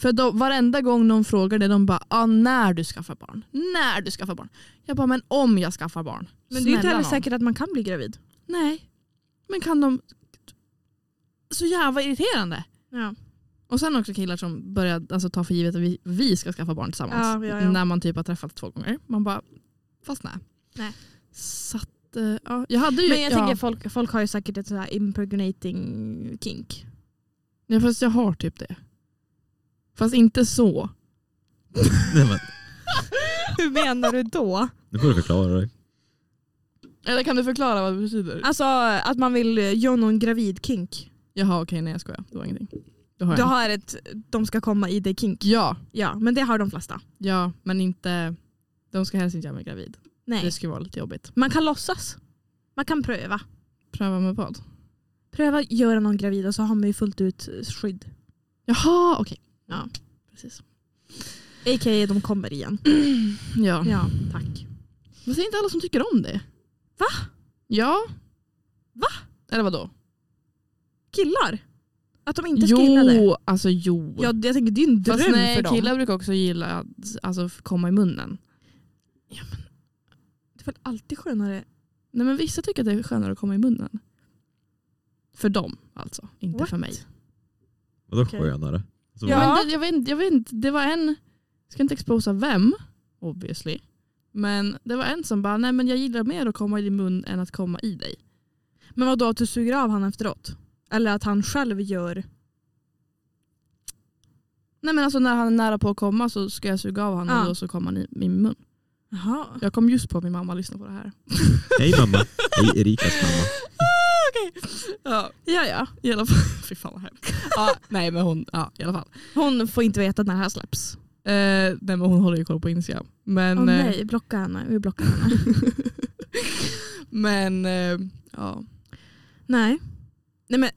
Speaker 3: För då, varenda gång någon frågar det, de bara ah, “när du skaffar barn, när du skaffar barn”. Jag bara “men om jag skaffar barn”.
Speaker 2: Men det är ju inte
Speaker 3: Snälla
Speaker 2: heller
Speaker 3: nån.
Speaker 2: säkert att man kan bli gravid.
Speaker 3: Nej. Men kan de... Så jävla irriterande.
Speaker 2: Ja.
Speaker 3: Och sen också killar som börjar alltså, ta för givet att vi, vi ska skaffa barn tillsammans.
Speaker 2: Ja, ja, ja.
Speaker 3: När man typ har träffats två gånger. Man bara, fast nej.
Speaker 2: Nej.
Speaker 3: Så att, eh, ja. Jag hade ju...
Speaker 2: Men jag
Speaker 3: ja.
Speaker 2: tänker folk, folk har ju säkert ett sådär impregnating kink.
Speaker 3: Ja, fast jag har typ det. Fast inte så.
Speaker 1: *laughs* Nej, men,
Speaker 2: *laughs* Hur menar du då?
Speaker 1: nu får du förklara dig.
Speaker 3: Eller kan du förklara vad det betyder?
Speaker 2: Alltså att man vill eh, göra någon gravid kink.
Speaker 3: Jaha okej, nej jag skojar. Det var ingenting. Det har
Speaker 2: Du
Speaker 3: jag. inte.
Speaker 2: har ett de ska komma i dig kink.
Speaker 3: Ja,
Speaker 2: Ja, men det har de flesta.
Speaker 3: ja, men inte... De ska helst inte göra mig gravid. Det
Speaker 2: Nej.
Speaker 3: skulle vara lite jobbigt.
Speaker 2: Man kan låtsas. Man kan pröva.
Speaker 3: Pröva med vad?
Speaker 2: Pröva göra någon gravid och så har man ju fullt ut eh, skydd.
Speaker 3: Jaha okej.
Speaker 2: Ja.
Speaker 3: Precis.
Speaker 2: A.k.a. de kommer igen.
Speaker 3: Ja.
Speaker 2: Ja, tack.
Speaker 3: Men det är inte alla som tycker om det.
Speaker 2: Va?
Speaker 3: Ja. Va? Eller vadå?
Speaker 2: Killar? Att de inte ska gilla det?
Speaker 3: Jo, alltså jo.
Speaker 2: Ja, jag tänker det är en dröm
Speaker 3: Fast nej,
Speaker 2: för dem.
Speaker 3: killar brukar också gilla att alltså, f- komma i munnen.
Speaker 2: Det är väl alltid skönare?
Speaker 3: Nej men vissa tycker att det är skönare att komma i munnen. För dem alltså, inte
Speaker 2: What?
Speaker 3: för mig.
Speaker 1: Vadå
Speaker 2: Okej.
Speaker 1: skönare? Så,
Speaker 2: Ja.
Speaker 3: Men det, jag, vet, inte- jag vet inte, det var en, ska inte exposa vem, obviously. Men det var en som bara, nej men jag gillar mer att komma i din mun än att komma i dig.
Speaker 2: Men vadå att du suger av han efteråt? Eller att han själv gör...
Speaker 3: Nej men alltså när han är nära på att komma så ska jag suga av honom
Speaker 2: Ja.
Speaker 3: och då så kommer han i min mun.
Speaker 2: Jaha.
Speaker 3: Jag kom just på att min mamma lyssnar på det här.
Speaker 1: Hej mamma. Hej
Speaker 3: *laughs*
Speaker 1: Erikas mamma. *laughs*
Speaker 3: Ja,
Speaker 2: Ja, ja.
Speaker 3: i alla fall. *laughs* Fy fan vad hemskt. Ja, nej men hon, ja i alla fall.
Speaker 2: Hon får inte veta när det här släpps.
Speaker 3: Eh, nej men hon håller ju koll på Instagram. Men,
Speaker 2: Åh
Speaker 3: eh,
Speaker 2: nej, blocka henne. Vi
Speaker 3: *laughs*
Speaker 2: blockar henne.
Speaker 3: men eh, ja.
Speaker 2: nej. Nej men,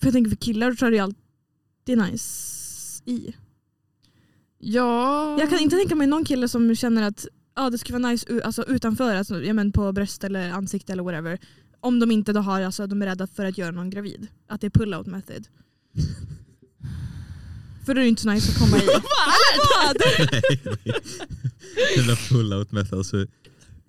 Speaker 2: för jag tänker för killar så är det ju alltid nice i.
Speaker 3: Ja.
Speaker 2: Jag kan inte tänka mig någon kille som känner att ja, det skulle vara nice u- alltså, utanför, alltså, ja, men på bröst eller ansikte eller whatever. Om de inte då har, alltså de är rädda för att göra någon gravid. Att det är pull-out method. *laughs* För då är det ju inte så nice att komma
Speaker 3: *laughs*
Speaker 2: *laughs* i.
Speaker 1: Nej, nej. *laughs* Jävla pull-out method. Alltså,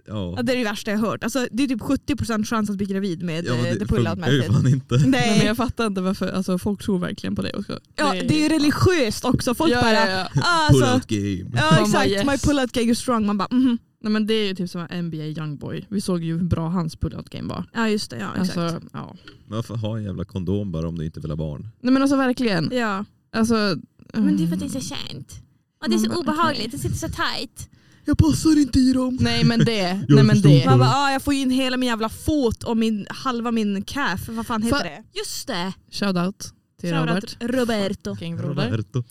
Speaker 1: ja.
Speaker 2: Ja, det är det värsta jag hört. Alltså, det är typ 70% chans att bli gravid med
Speaker 1: ja, men
Speaker 2: eh, the
Speaker 1: funkar
Speaker 2: pull-out
Speaker 1: ju
Speaker 2: method.
Speaker 1: fan inte.
Speaker 3: Nej, men
Speaker 2: Nej.
Speaker 3: jag fattar inte varför, alltså folk tror verkligen på det. Oskar.
Speaker 2: Ja, det är ju religiöst också. Folk
Speaker 3: ja,
Speaker 2: bara
Speaker 3: ja, ja.
Speaker 2: ah, alltså,
Speaker 1: Pull-out game.
Speaker 2: ja, exakt,
Speaker 3: yes.
Speaker 2: my pull-out gig is strong. Man bara mhm.
Speaker 3: Nej, men det är ju typ som en NBA Youngboy. Vi såg ju hur bra hans pull-out game var.
Speaker 2: Ja just det, ja exakt.
Speaker 3: Alltså, ja.
Speaker 1: Men Varför ha en jävla kondom bara om du inte vill ha barn?
Speaker 3: Nej men alltså verkligen.
Speaker 2: ja.
Speaker 3: Alltså, Mm.
Speaker 2: så känt.
Speaker 3: Och det är så obehagligt,
Speaker 2: det sitter så tight.
Speaker 1: Jag passar inte i dem.
Speaker 3: Nej men det.
Speaker 1: *laughs* Jag
Speaker 3: nej, men
Speaker 1: förstod
Speaker 3: det.
Speaker 2: Man bara, ah, jag får in hela min jävla fot och min, halva min calf, vad fan heter
Speaker 3: Fa-
Speaker 2: det? Just det!
Speaker 3: Shoutout till
Speaker 2: Shoutout
Speaker 3: Robert.
Speaker 2: Roberto.
Speaker 3: Fucking Robert.
Speaker 1: Roberto.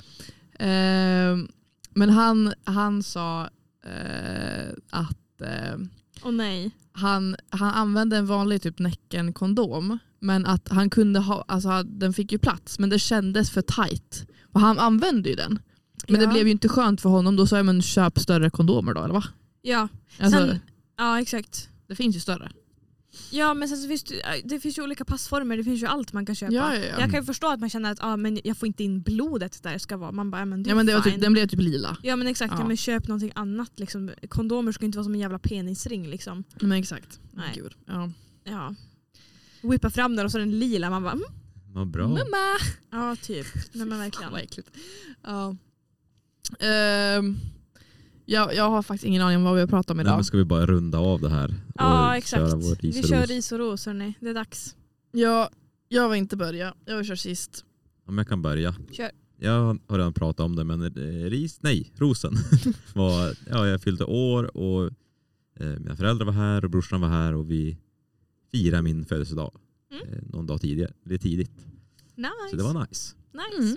Speaker 3: Ehm, men han, han sa eh, att eh,
Speaker 2: Åh nej.
Speaker 3: han, han använde en vanlig typ näcken-kondom. Men att han kunde ha, alltså den fick ju plats men det kändes för tight. Och han använde ju den. Men
Speaker 2: Ja.
Speaker 3: det blev ju inte skönt för honom. Då sa jag men köp större kondomer då eller va?
Speaker 2: Ja,
Speaker 3: Alltså,
Speaker 2: Sen- ja exakt.
Speaker 3: Det finns ju större.
Speaker 2: Ja men sen så finns det, äh, det finns ju olika passformer, det finns ju allt man kan köpa.
Speaker 3: Ja, ja, ja.
Speaker 2: Jag kan ju förstå att man känner att ah, men jag får inte in blodet där det ska vara. Man bara, ja, men det är
Speaker 3: Ja, men det var
Speaker 2: fine.
Speaker 3: typ, den blev typ lila.
Speaker 2: Ja men exakt, ja.
Speaker 3: Ja.
Speaker 2: men köp någonting annat. Liksom. Kondomer ska inte vara som en jävla penisring. Liksom.
Speaker 3: Nej, men exakt.
Speaker 2: Nej.
Speaker 3: Gud. Ja.
Speaker 2: Ja. Whippa fram den och så är den lila. Man bara, mm.
Speaker 1: Vad bra.
Speaker 3: Mamma!
Speaker 2: ja typ. Nej men verkligen.
Speaker 3: Vad äckligt. Ja. Ehm, jag, jag har faktiskt ingen aning om vad vi har pratat om
Speaker 1: Nej,
Speaker 3: idag.
Speaker 1: men ska vi bara runda av det här? och
Speaker 2: Ja exakt.
Speaker 1: Köra vår ris
Speaker 2: Vi
Speaker 1: och
Speaker 2: kör
Speaker 1: ros?
Speaker 2: ris och ros hörni. Det är dags.
Speaker 3: jag, jag vill inte börja. Jag vill köra sist.
Speaker 1: Ja, men jag kan börja.
Speaker 2: Kör.
Speaker 1: Jag har redan pratat om det, men eh, ris, nej, rosen.
Speaker 2: *laughs*
Speaker 1: var, ja, jag fyllde år och eh, mina föräldrar var här och brorsan var här och vi firade min födelsedag
Speaker 2: Mm.
Speaker 1: eh, någon dag tidigare. Det är tidigt,
Speaker 2: Nice.
Speaker 1: så det var nice.
Speaker 3: Mm.
Speaker 2: nice.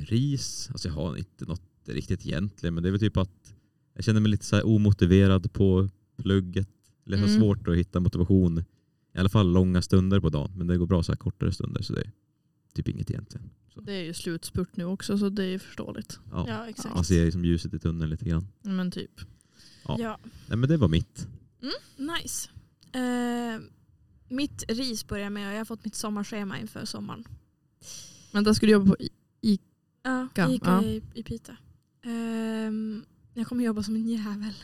Speaker 1: Eh, ris, alltså jag har inte något riktigt egentligen, men det är väl typ att jag känner mig lite så här omotiverad på plugget. Eller jag har
Speaker 3: Mm.
Speaker 1: svårt att hitta motivation, i alla fall långa stunder på dagen, men det går bra så här kortare stunder så det är typ inget egentligen.
Speaker 3: Det är ju slutspurt nu också så det är ju förståeligt.
Speaker 1: Ja.
Speaker 2: Ja exakt.
Speaker 1: Man ser liksom ljuset i tunneln lite grann.
Speaker 3: Men typ.
Speaker 1: Ja.
Speaker 2: Ja.
Speaker 1: Nej men det var mitt.
Speaker 2: Nice. Eh, mitt ris börjar med och jag har fått mitt sommarschema inför sommaren.
Speaker 3: Men där ska du jobba på I-
Speaker 2: Ja,
Speaker 3: Ja,
Speaker 2: jag gick
Speaker 3: ja.
Speaker 2: i, i Piteå. Ehm, jag kommer jobba som en jävel.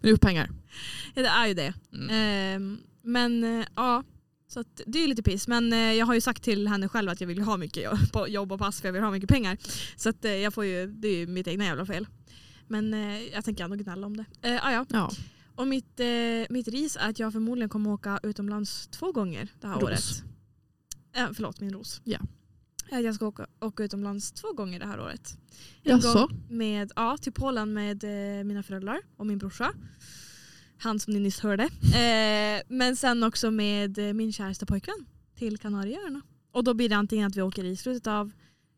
Speaker 3: Men upp pengar.
Speaker 2: Ja, det är ju det.
Speaker 3: Mm.
Speaker 2: Ehm, men eh, ja, så att, det är ju lite piss. Men eh, jag har ju sagt till henne själv att jag vill ha mycket jobb- på jobb och pass för jag vill ha mycket pengar. Så att, eh, jag får ju, det är ju mitt egna jävla fel. Men eh, jag tänker ändå gnälla om det. Eh, ah, ja.
Speaker 3: Ja.
Speaker 2: Och mitt, eh, mitt ris är att jag förmodligen kommer åka utomlands två gånger det här
Speaker 3: Ros.
Speaker 2: året. Eh, förlåt, min ros.
Speaker 3: Ja.
Speaker 2: Att jag ska åka, åka utomlands två gånger det här året. En
Speaker 3: Jaså?
Speaker 2: med, ja, till Polen med eh, mina föräldrar och min brorsa. Han som ni nyss *laughs* hörde. Eh, men sen också med eh, min käraste pojkvän till Kanarieöarna. Och då blir det antingen att vi åker i slutet av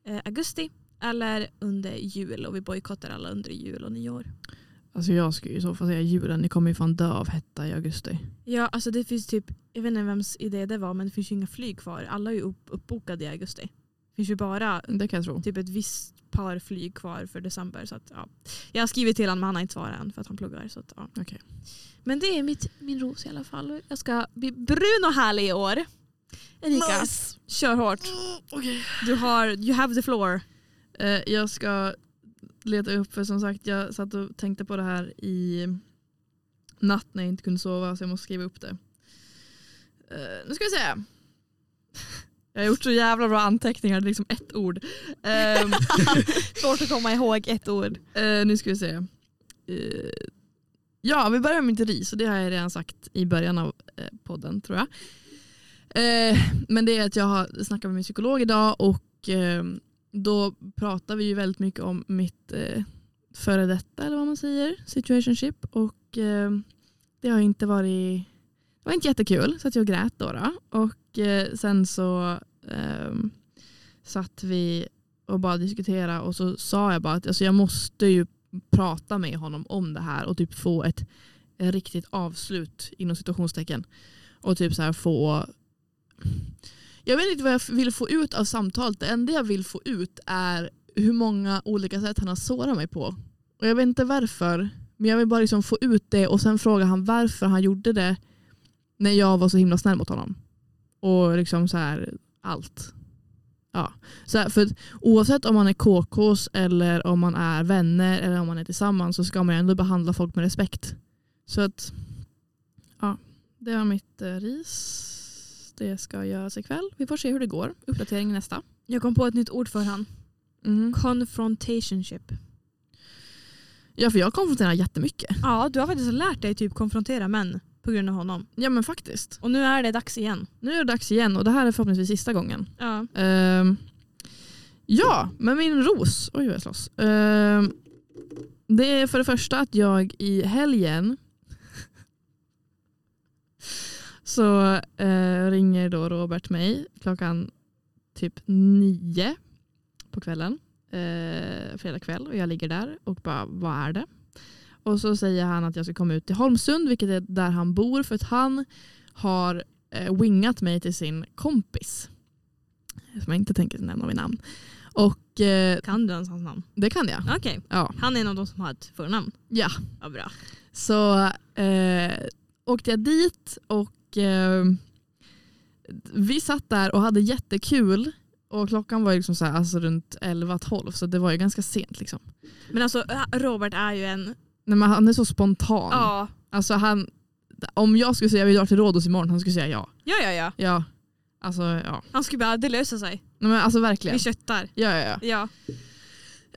Speaker 2: eh, augusti eller under jul och vi bojkottar alla under jul och nyår.
Speaker 3: Alltså jag skulle ju i så fall säga julen. Ni kommer ju fan dö av hetta i augusti.
Speaker 2: Ja, alltså det finns typ, jag vet inte vems idé det var men det finns ju inga flyg kvar. Alla är ju upp, uppbokade i augusti. Det finns ju bara
Speaker 3: Det kan jag tro.
Speaker 2: typ ett visst par flyg kvar för december. Så att, ja. Jag har skrivit till honom men han har inte svarat än för att han pluggar. Så att, ja.
Speaker 3: Okej.
Speaker 2: Men det är mitt, min ros i alla fall. Jag ska bli brun och härlig i år. Erika, kör hårt. Du har, you have the floor.
Speaker 3: Mm, Eh, jag ska leta upp, för som sagt jag satt och tänkte på det här i natt när jag inte kunde sova så jag måste skriva upp det. Eh, nu ska vi se. *laughs* Jag har gjort så jävla bra anteckningar, det är liksom ett ord. Ehm,
Speaker 2: *laughs* Svårt att komma ihåg ett ord.
Speaker 3: Eh, nu ska vi se. Eh, ja, vi börjar med mitt ris och det har jag redan sagt i början av eh, podden tror jag. Eh, men det är att jag har snackat med min psykolog idag och eh, då pratar vi ju väldigt mycket om mitt eh, före detta eller vad man säger, situationship och eh, det har inte varit det var inte jättekul så att jag grät då. då. Och eh, sen så eh, satt vi och bara diskutera och så sa jag bara att alltså, jag måste ju prata med honom om det här och typ få ett riktigt avslut inom situationstecken. Och typ så här få jag vet inte vad jag vill få ut av samtalet. Det enda jag vill få ut är hur många olika sätt han har sårat mig på. Och jag vet inte varför. Men jag vill bara liksom få ut det och sen fråga han varför han gjorde det när jag var så himla snäll mot honom. Och liksom så här allt. Ja. Så här, för att oavsett om man är KKs eller om man är vänner eller om man är tillsammans så ska man ju ändå behandla folk med respekt. Så att ja, det var mitt eh, ris. Det ska göras ikväll. Vi får se hur det går. Uppdatering nästa.
Speaker 2: Jag kom på ett nytt ord för han. Mm. Confrontationship.
Speaker 3: Ja, för jag konfronterar jättemycket.
Speaker 2: Ja, du har faktiskt lärt dig typ konfrontera män på grund av honom.
Speaker 3: Ja, men faktiskt.
Speaker 2: Och nu är det dags igen.
Speaker 3: Nu är det dags igen och det här är förhoppningsvis sista gången.
Speaker 2: Ja.
Speaker 3: Ehm, ja, men min ros. Oj vad jag slåss. Ehm, det är för det första att jag i helgen *laughs* så eh, ringer då Robert mig klockan typ nio på kvällen. Eh, fredag kväll och jag ligger där och bara vad är det? Och så säger han att jag ska komma ut till Holmsund vilket är där han bor för att han har eh, wingat mig till sin kompis som jag inte tänker nämna vid namn. Och eh,
Speaker 2: Kan du ens hans namn?
Speaker 3: det kan jag.
Speaker 2: Okej.
Speaker 3: Ja.
Speaker 2: Han är en av de som har ett förnamn.
Speaker 3: ja.
Speaker 2: Ja, bra.
Speaker 3: Så eh, åkte jag dit och eh, vi satt där och hade jättekul. Och klockan var ju liksom så här, alltså runt 11-12 så det var ju ganska sent. Liksom.
Speaker 2: Men alltså Robert är ju en...
Speaker 3: Nej, men han är så spontan.
Speaker 2: Ja,
Speaker 3: Alltså, han, om jag skulle säga vi drar till Rhodos imorgon, han skulle säga ja.
Speaker 2: ja, ja. ja.
Speaker 3: Ja, alltså, ja.
Speaker 2: Han skulle bara, det löser sig.
Speaker 3: Nej, men alltså
Speaker 2: Vi
Speaker 3: verkligen.
Speaker 2: köttar.
Speaker 3: Ja, ja, ja.
Speaker 2: Ja.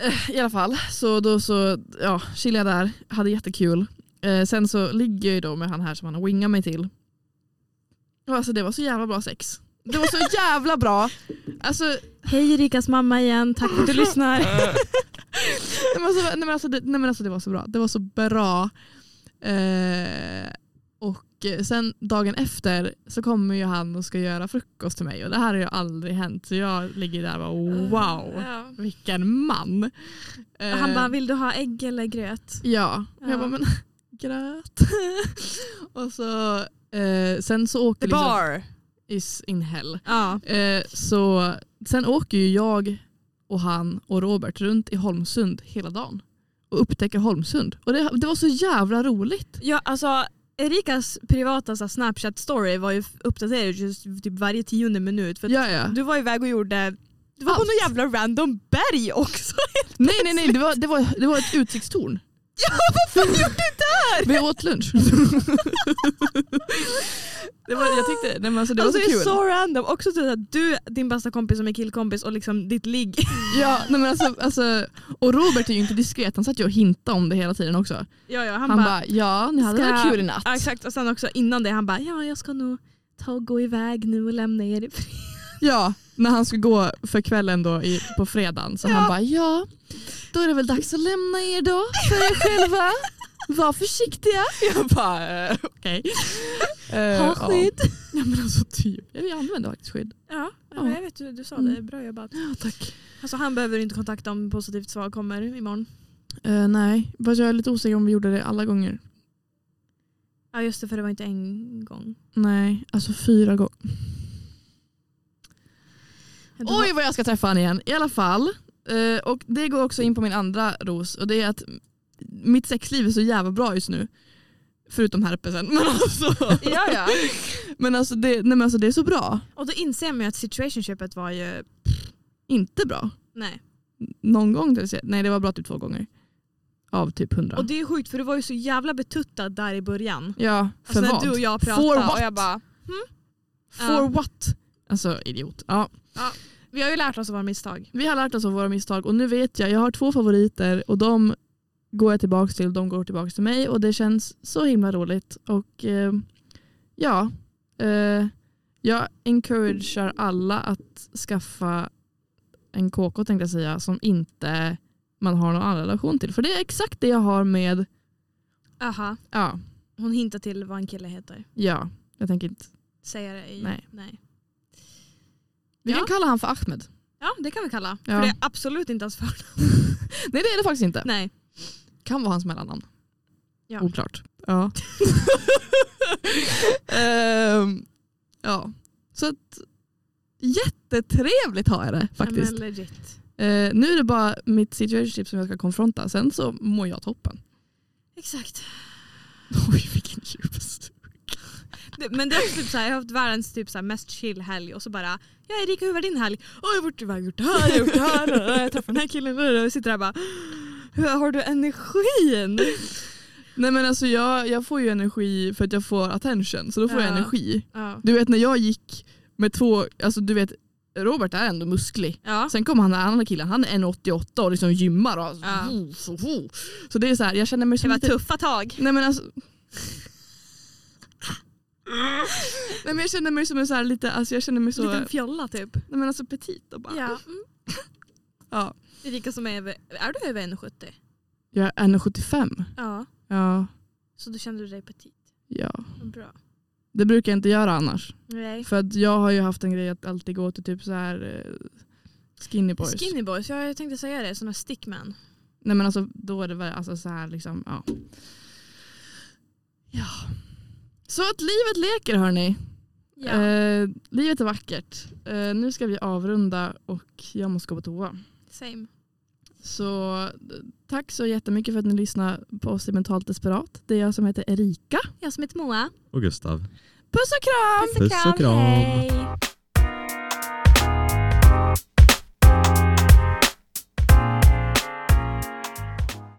Speaker 3: Eh, I alla fall, så då så ja, chillade jag där, hade jättekul. Eh, sen så ligger jag ju då med han här som han har wingat mig till. Och alltså det var så jävla bra sex. Det var
Speaker 2: *laughs*
Speaker 3: så jävla bra. Alltså, nej
Speaker 2: Hej Rikas mamma igen, tack *laughs* för att du lyssnar.
Speaker 3: men alltså, nej men alltså, det, nej men alltså det var så bra. Det var så bra. Eh, och eh, sen dagen efter så kommer ju han och ska göra frukost till mig och det här har ju aldrig hänt. Så jag ligger där och bara wow,
Speaker 2: Ja.
Speaker 3: vilken man. Eh,
Speaker 2: Eh. Han bara, vill du ha ägg eller gröt?
Speaker 3: Ja, och
Speaker 2: Ja.
Speaker 3: jag bara men *laughs* gröt. *laughs* och så eh, sen så åker liksom, is in hell.
Speaker 2: Ja.
Speaker 3: Eh, så sen åker ju jag och han och Robert runt i Holmsund hela dagen och upptäcker Holmsund. Och det, det var så jävla roligt.
Speaker 2: ja, alltså Erikas privata så här, Snapchat story var ju uppdaterad just typ varje tionde minut. För att
Speaker 3: Ja, ja.
Speaker 2: Du var iväg och gjorde Det var på
Speaker 3: Allt.
Speaker 2: någon jävla random berg också.
Speaker 3: Nej, nej, nej. Det var, det var, det var ett *laughs* utsiktstorn.
Speaker 2: Ja, vad fan gjorde du där?
Speaker 3: Vi åt lunch. *laughs* det var, jag tyckte, nej, men alltså, det
Speaker 2: alltså,
Speaker 3: var
Speaker 2: det
Speaker 3: så kul.
Speaker 2: är så random. Också så att du, din bästa kompis som är killkompis och liksom ditt ligg. *laughs*
Speaker 3: Ja, nej, men alltså, alltså, och Robert är ju inte diskret, han satt ju och hintade om det hela tiden också. Han,
Speaker 2: Ja, ja, han,
Speaker 3: bara,
Speaker 2: bara,
Speaker 3: ja ni hade
Speaker 2: "Ska-
Speaker 3: väl kul i natt?
Speaker 2: ja, exakt. Och sen också innan det han bara ja jag ska nog ta och gå iväg nu och lämna er i fred.
Speaker 3: Ja, när han skulle gå för kvällen då i, på fredagen. Så
Speaker 2: Ja.
Speaker 3: han bara, ja då är det väl dags att lämna er då för er själva. Var försiktiga. Jag bara, eh, okej. Eh,
Speaker 2: Ha
Speaker 3: Ja.
Speaker 2: skydd.
Speaker 3: ja men alltså typ, Ja, vi använder faktiskt skydd.
Speaker 2: Ja,
Speaker 3: Ja.
Speaker 2: men jag vet du, du sa det. Bra jobbat.
Speaker 3: Ja tack.
Speaker 2: Alltså, han behöver inte kontakta om positivt svar kommer imorgon.
Speaker 3: Eh, nej, fast jag är lite osäker om vi gjorde det alla gånger.
Speaker 2: Ja just det för det var inte en gång.
Speaker 3: Nej, alltså fyra gånger.
Speaker 2: Det var-
Speaker 3: Oj vad jag ska träffa han igen. I alla fall. Eh, och det går också in på min andra ros. Och det är att mitt sexliv är så jävla bra just nu. Förutom herpesen. *laughs* Men alltså,
Speaker 2: Ja, ja.
Speaker 3: men alltså, det, nej, men alltså det är så bra.
Speaker 2: Och då inser man ju att situationshipet var ju,
Speaker 3: Inte bra.
Speaker 2: nej.
Speaker 3: Någon gång. till exempel. Nej det var bra typ två gånger. Av typ hundra.
Speaker 2: Och det är ju sjukt för du var ju så jävla betuttad där i början.
Speaker 3: ja,
Speaker 2: Alltså
Speaker 3: för
Speaker 2: när
Speaker 3: vad?
Speaker 2: du och jag
Speaker 3: For
Speaker 2: pratade
Speaker 3: what?
Speaker 2: och jag bara, "Hmm?"
Speaker 3: For
Speaker 2: Ja.
Speaker 3: what? Alltså idiot. Ja.
Speaker 2: vi har ju lärt oss av våra misstag.
Speaker 3: Vi har lärt oss av våra misstag och nu vet jag, jag har två favoriter och de går jag tillbaka till och de går tillbaka till mig och det känns så himla roligt. Och eh, ja, eh, jag encouragear alla att skaffa en KK tänkte jag säga som inte man har någon annan relation till. För det är exakt det jag har med,
Speaker 2: Aha.
Speaker 3: ja,
Speaker 2: Hon hintar till vad en kille heter.
Speaker 3: ja jag tänker inte.
Speaker 2: Säger det i...
Speaker 3: Nej. Vi kan kalla han för Ahmed.
Speaker 2: Ja det kan vi kalla.
Speaker 3: Ja.
Speaker 2: För det är absolut inte hans förnamn.
Speaker 3: Nej det är det faktiskt inte.
Speaker 2: Nej.
Speaker 3: Kan vara hans mellannamn.
Speaker 2: Ja.
Speaker 3: Oklart.
Speaker 2: *laughs*
Speaker 3: Ja. Ehm, ja. Så att, jättetrevligt har jag det faktiskt.
Speaker 2: Men legit.
Speaker 3: Eh, nu är det bara mitt situationship som jag ska konfronta. Sen så mår jag
Speaker 2: *laughs*
Speaker 3: toppen.
Speaker 2: Exakt.
Speaker 3: Oj vilken djupst.
Speaker 2: Det, men det är också typ så här, jag har haft världens typ så här mest chill helg och så bara jag är Erika hur var din helg? Åh jag har varit iväg och gjort det här, jag har gjort det här, jag träffade den här killen och jag sitter där bara hur har du energin?
Speaker 3: Nej men alltså jag, jag får ju energi för att jag får attention. Så då får jag
Speaker 2: Ja.
Speaker 3: energi.
Speaker 2: Ja.
Speaker 3: Du vet när jag gick med två, alltså du vet Robert är ändå musklig.
Speaker 2: ja.
Speaker 3: Sen kommer han den andra killen, han är 1,88 och liksom gymmar. Och,
Speaker 2: Ja.
Speaker 3: så, så det är så här, jag känner mig
Speaker 2: Det
Speaker 3: som
Speaker 2: var
Speaker 3: lite
Speaker 2: tuffa tag.
Speaker 3: Nej men alltså. Nej men jag känner mig som en så här lite, alltså jag känner mig så,
Speaker 2: Liten
Speaker 3: nej
Speaker 2: fjolla typ.
Speaker 3: men alltså petit och bara.
Speaker 2: Mm.
Speaker 3: Ja.
Speaker 2: Erika som är över, är du över 1,70?
Speaker 3: Jag är 1,75.
Speaker 2: Ja.
Speaker 3: Ja,
Speaker 2: Så då kände du dig petit.
Speaker 3: ja.
Speaker 2: Vad Bra.
Speaker 3: Det brukar jag inte göra annars.
Speaker 2: Nej.
Speaker 3: För att jag har ju haft en grej att alltid gå till typ så här eh, skinny boys.
Speaker 2: Skinny boys, ja, jag tänkte säga det, sådana stickman.
Speaker 3: Nej men alltså då är det väl alltså så här liksom, ja. Ja. Så att livet leker hörni. Eh, livet är vackert. Eh, nu ska vi avrunda och jag måste gå på toa.
Speaker 2: Same.
Speaker 3: Så eh, tack så jättemycket för att ni lyssnar på oss i Mentalt Desperat. Det är jag som heter Erika.
Speaker 2: Jag som heter Moa.
Speaker 1: Och Gustav.
Speaker 3: Puss och kram!
Speaker 1: Puss och kram.
Speaker 2: Hej.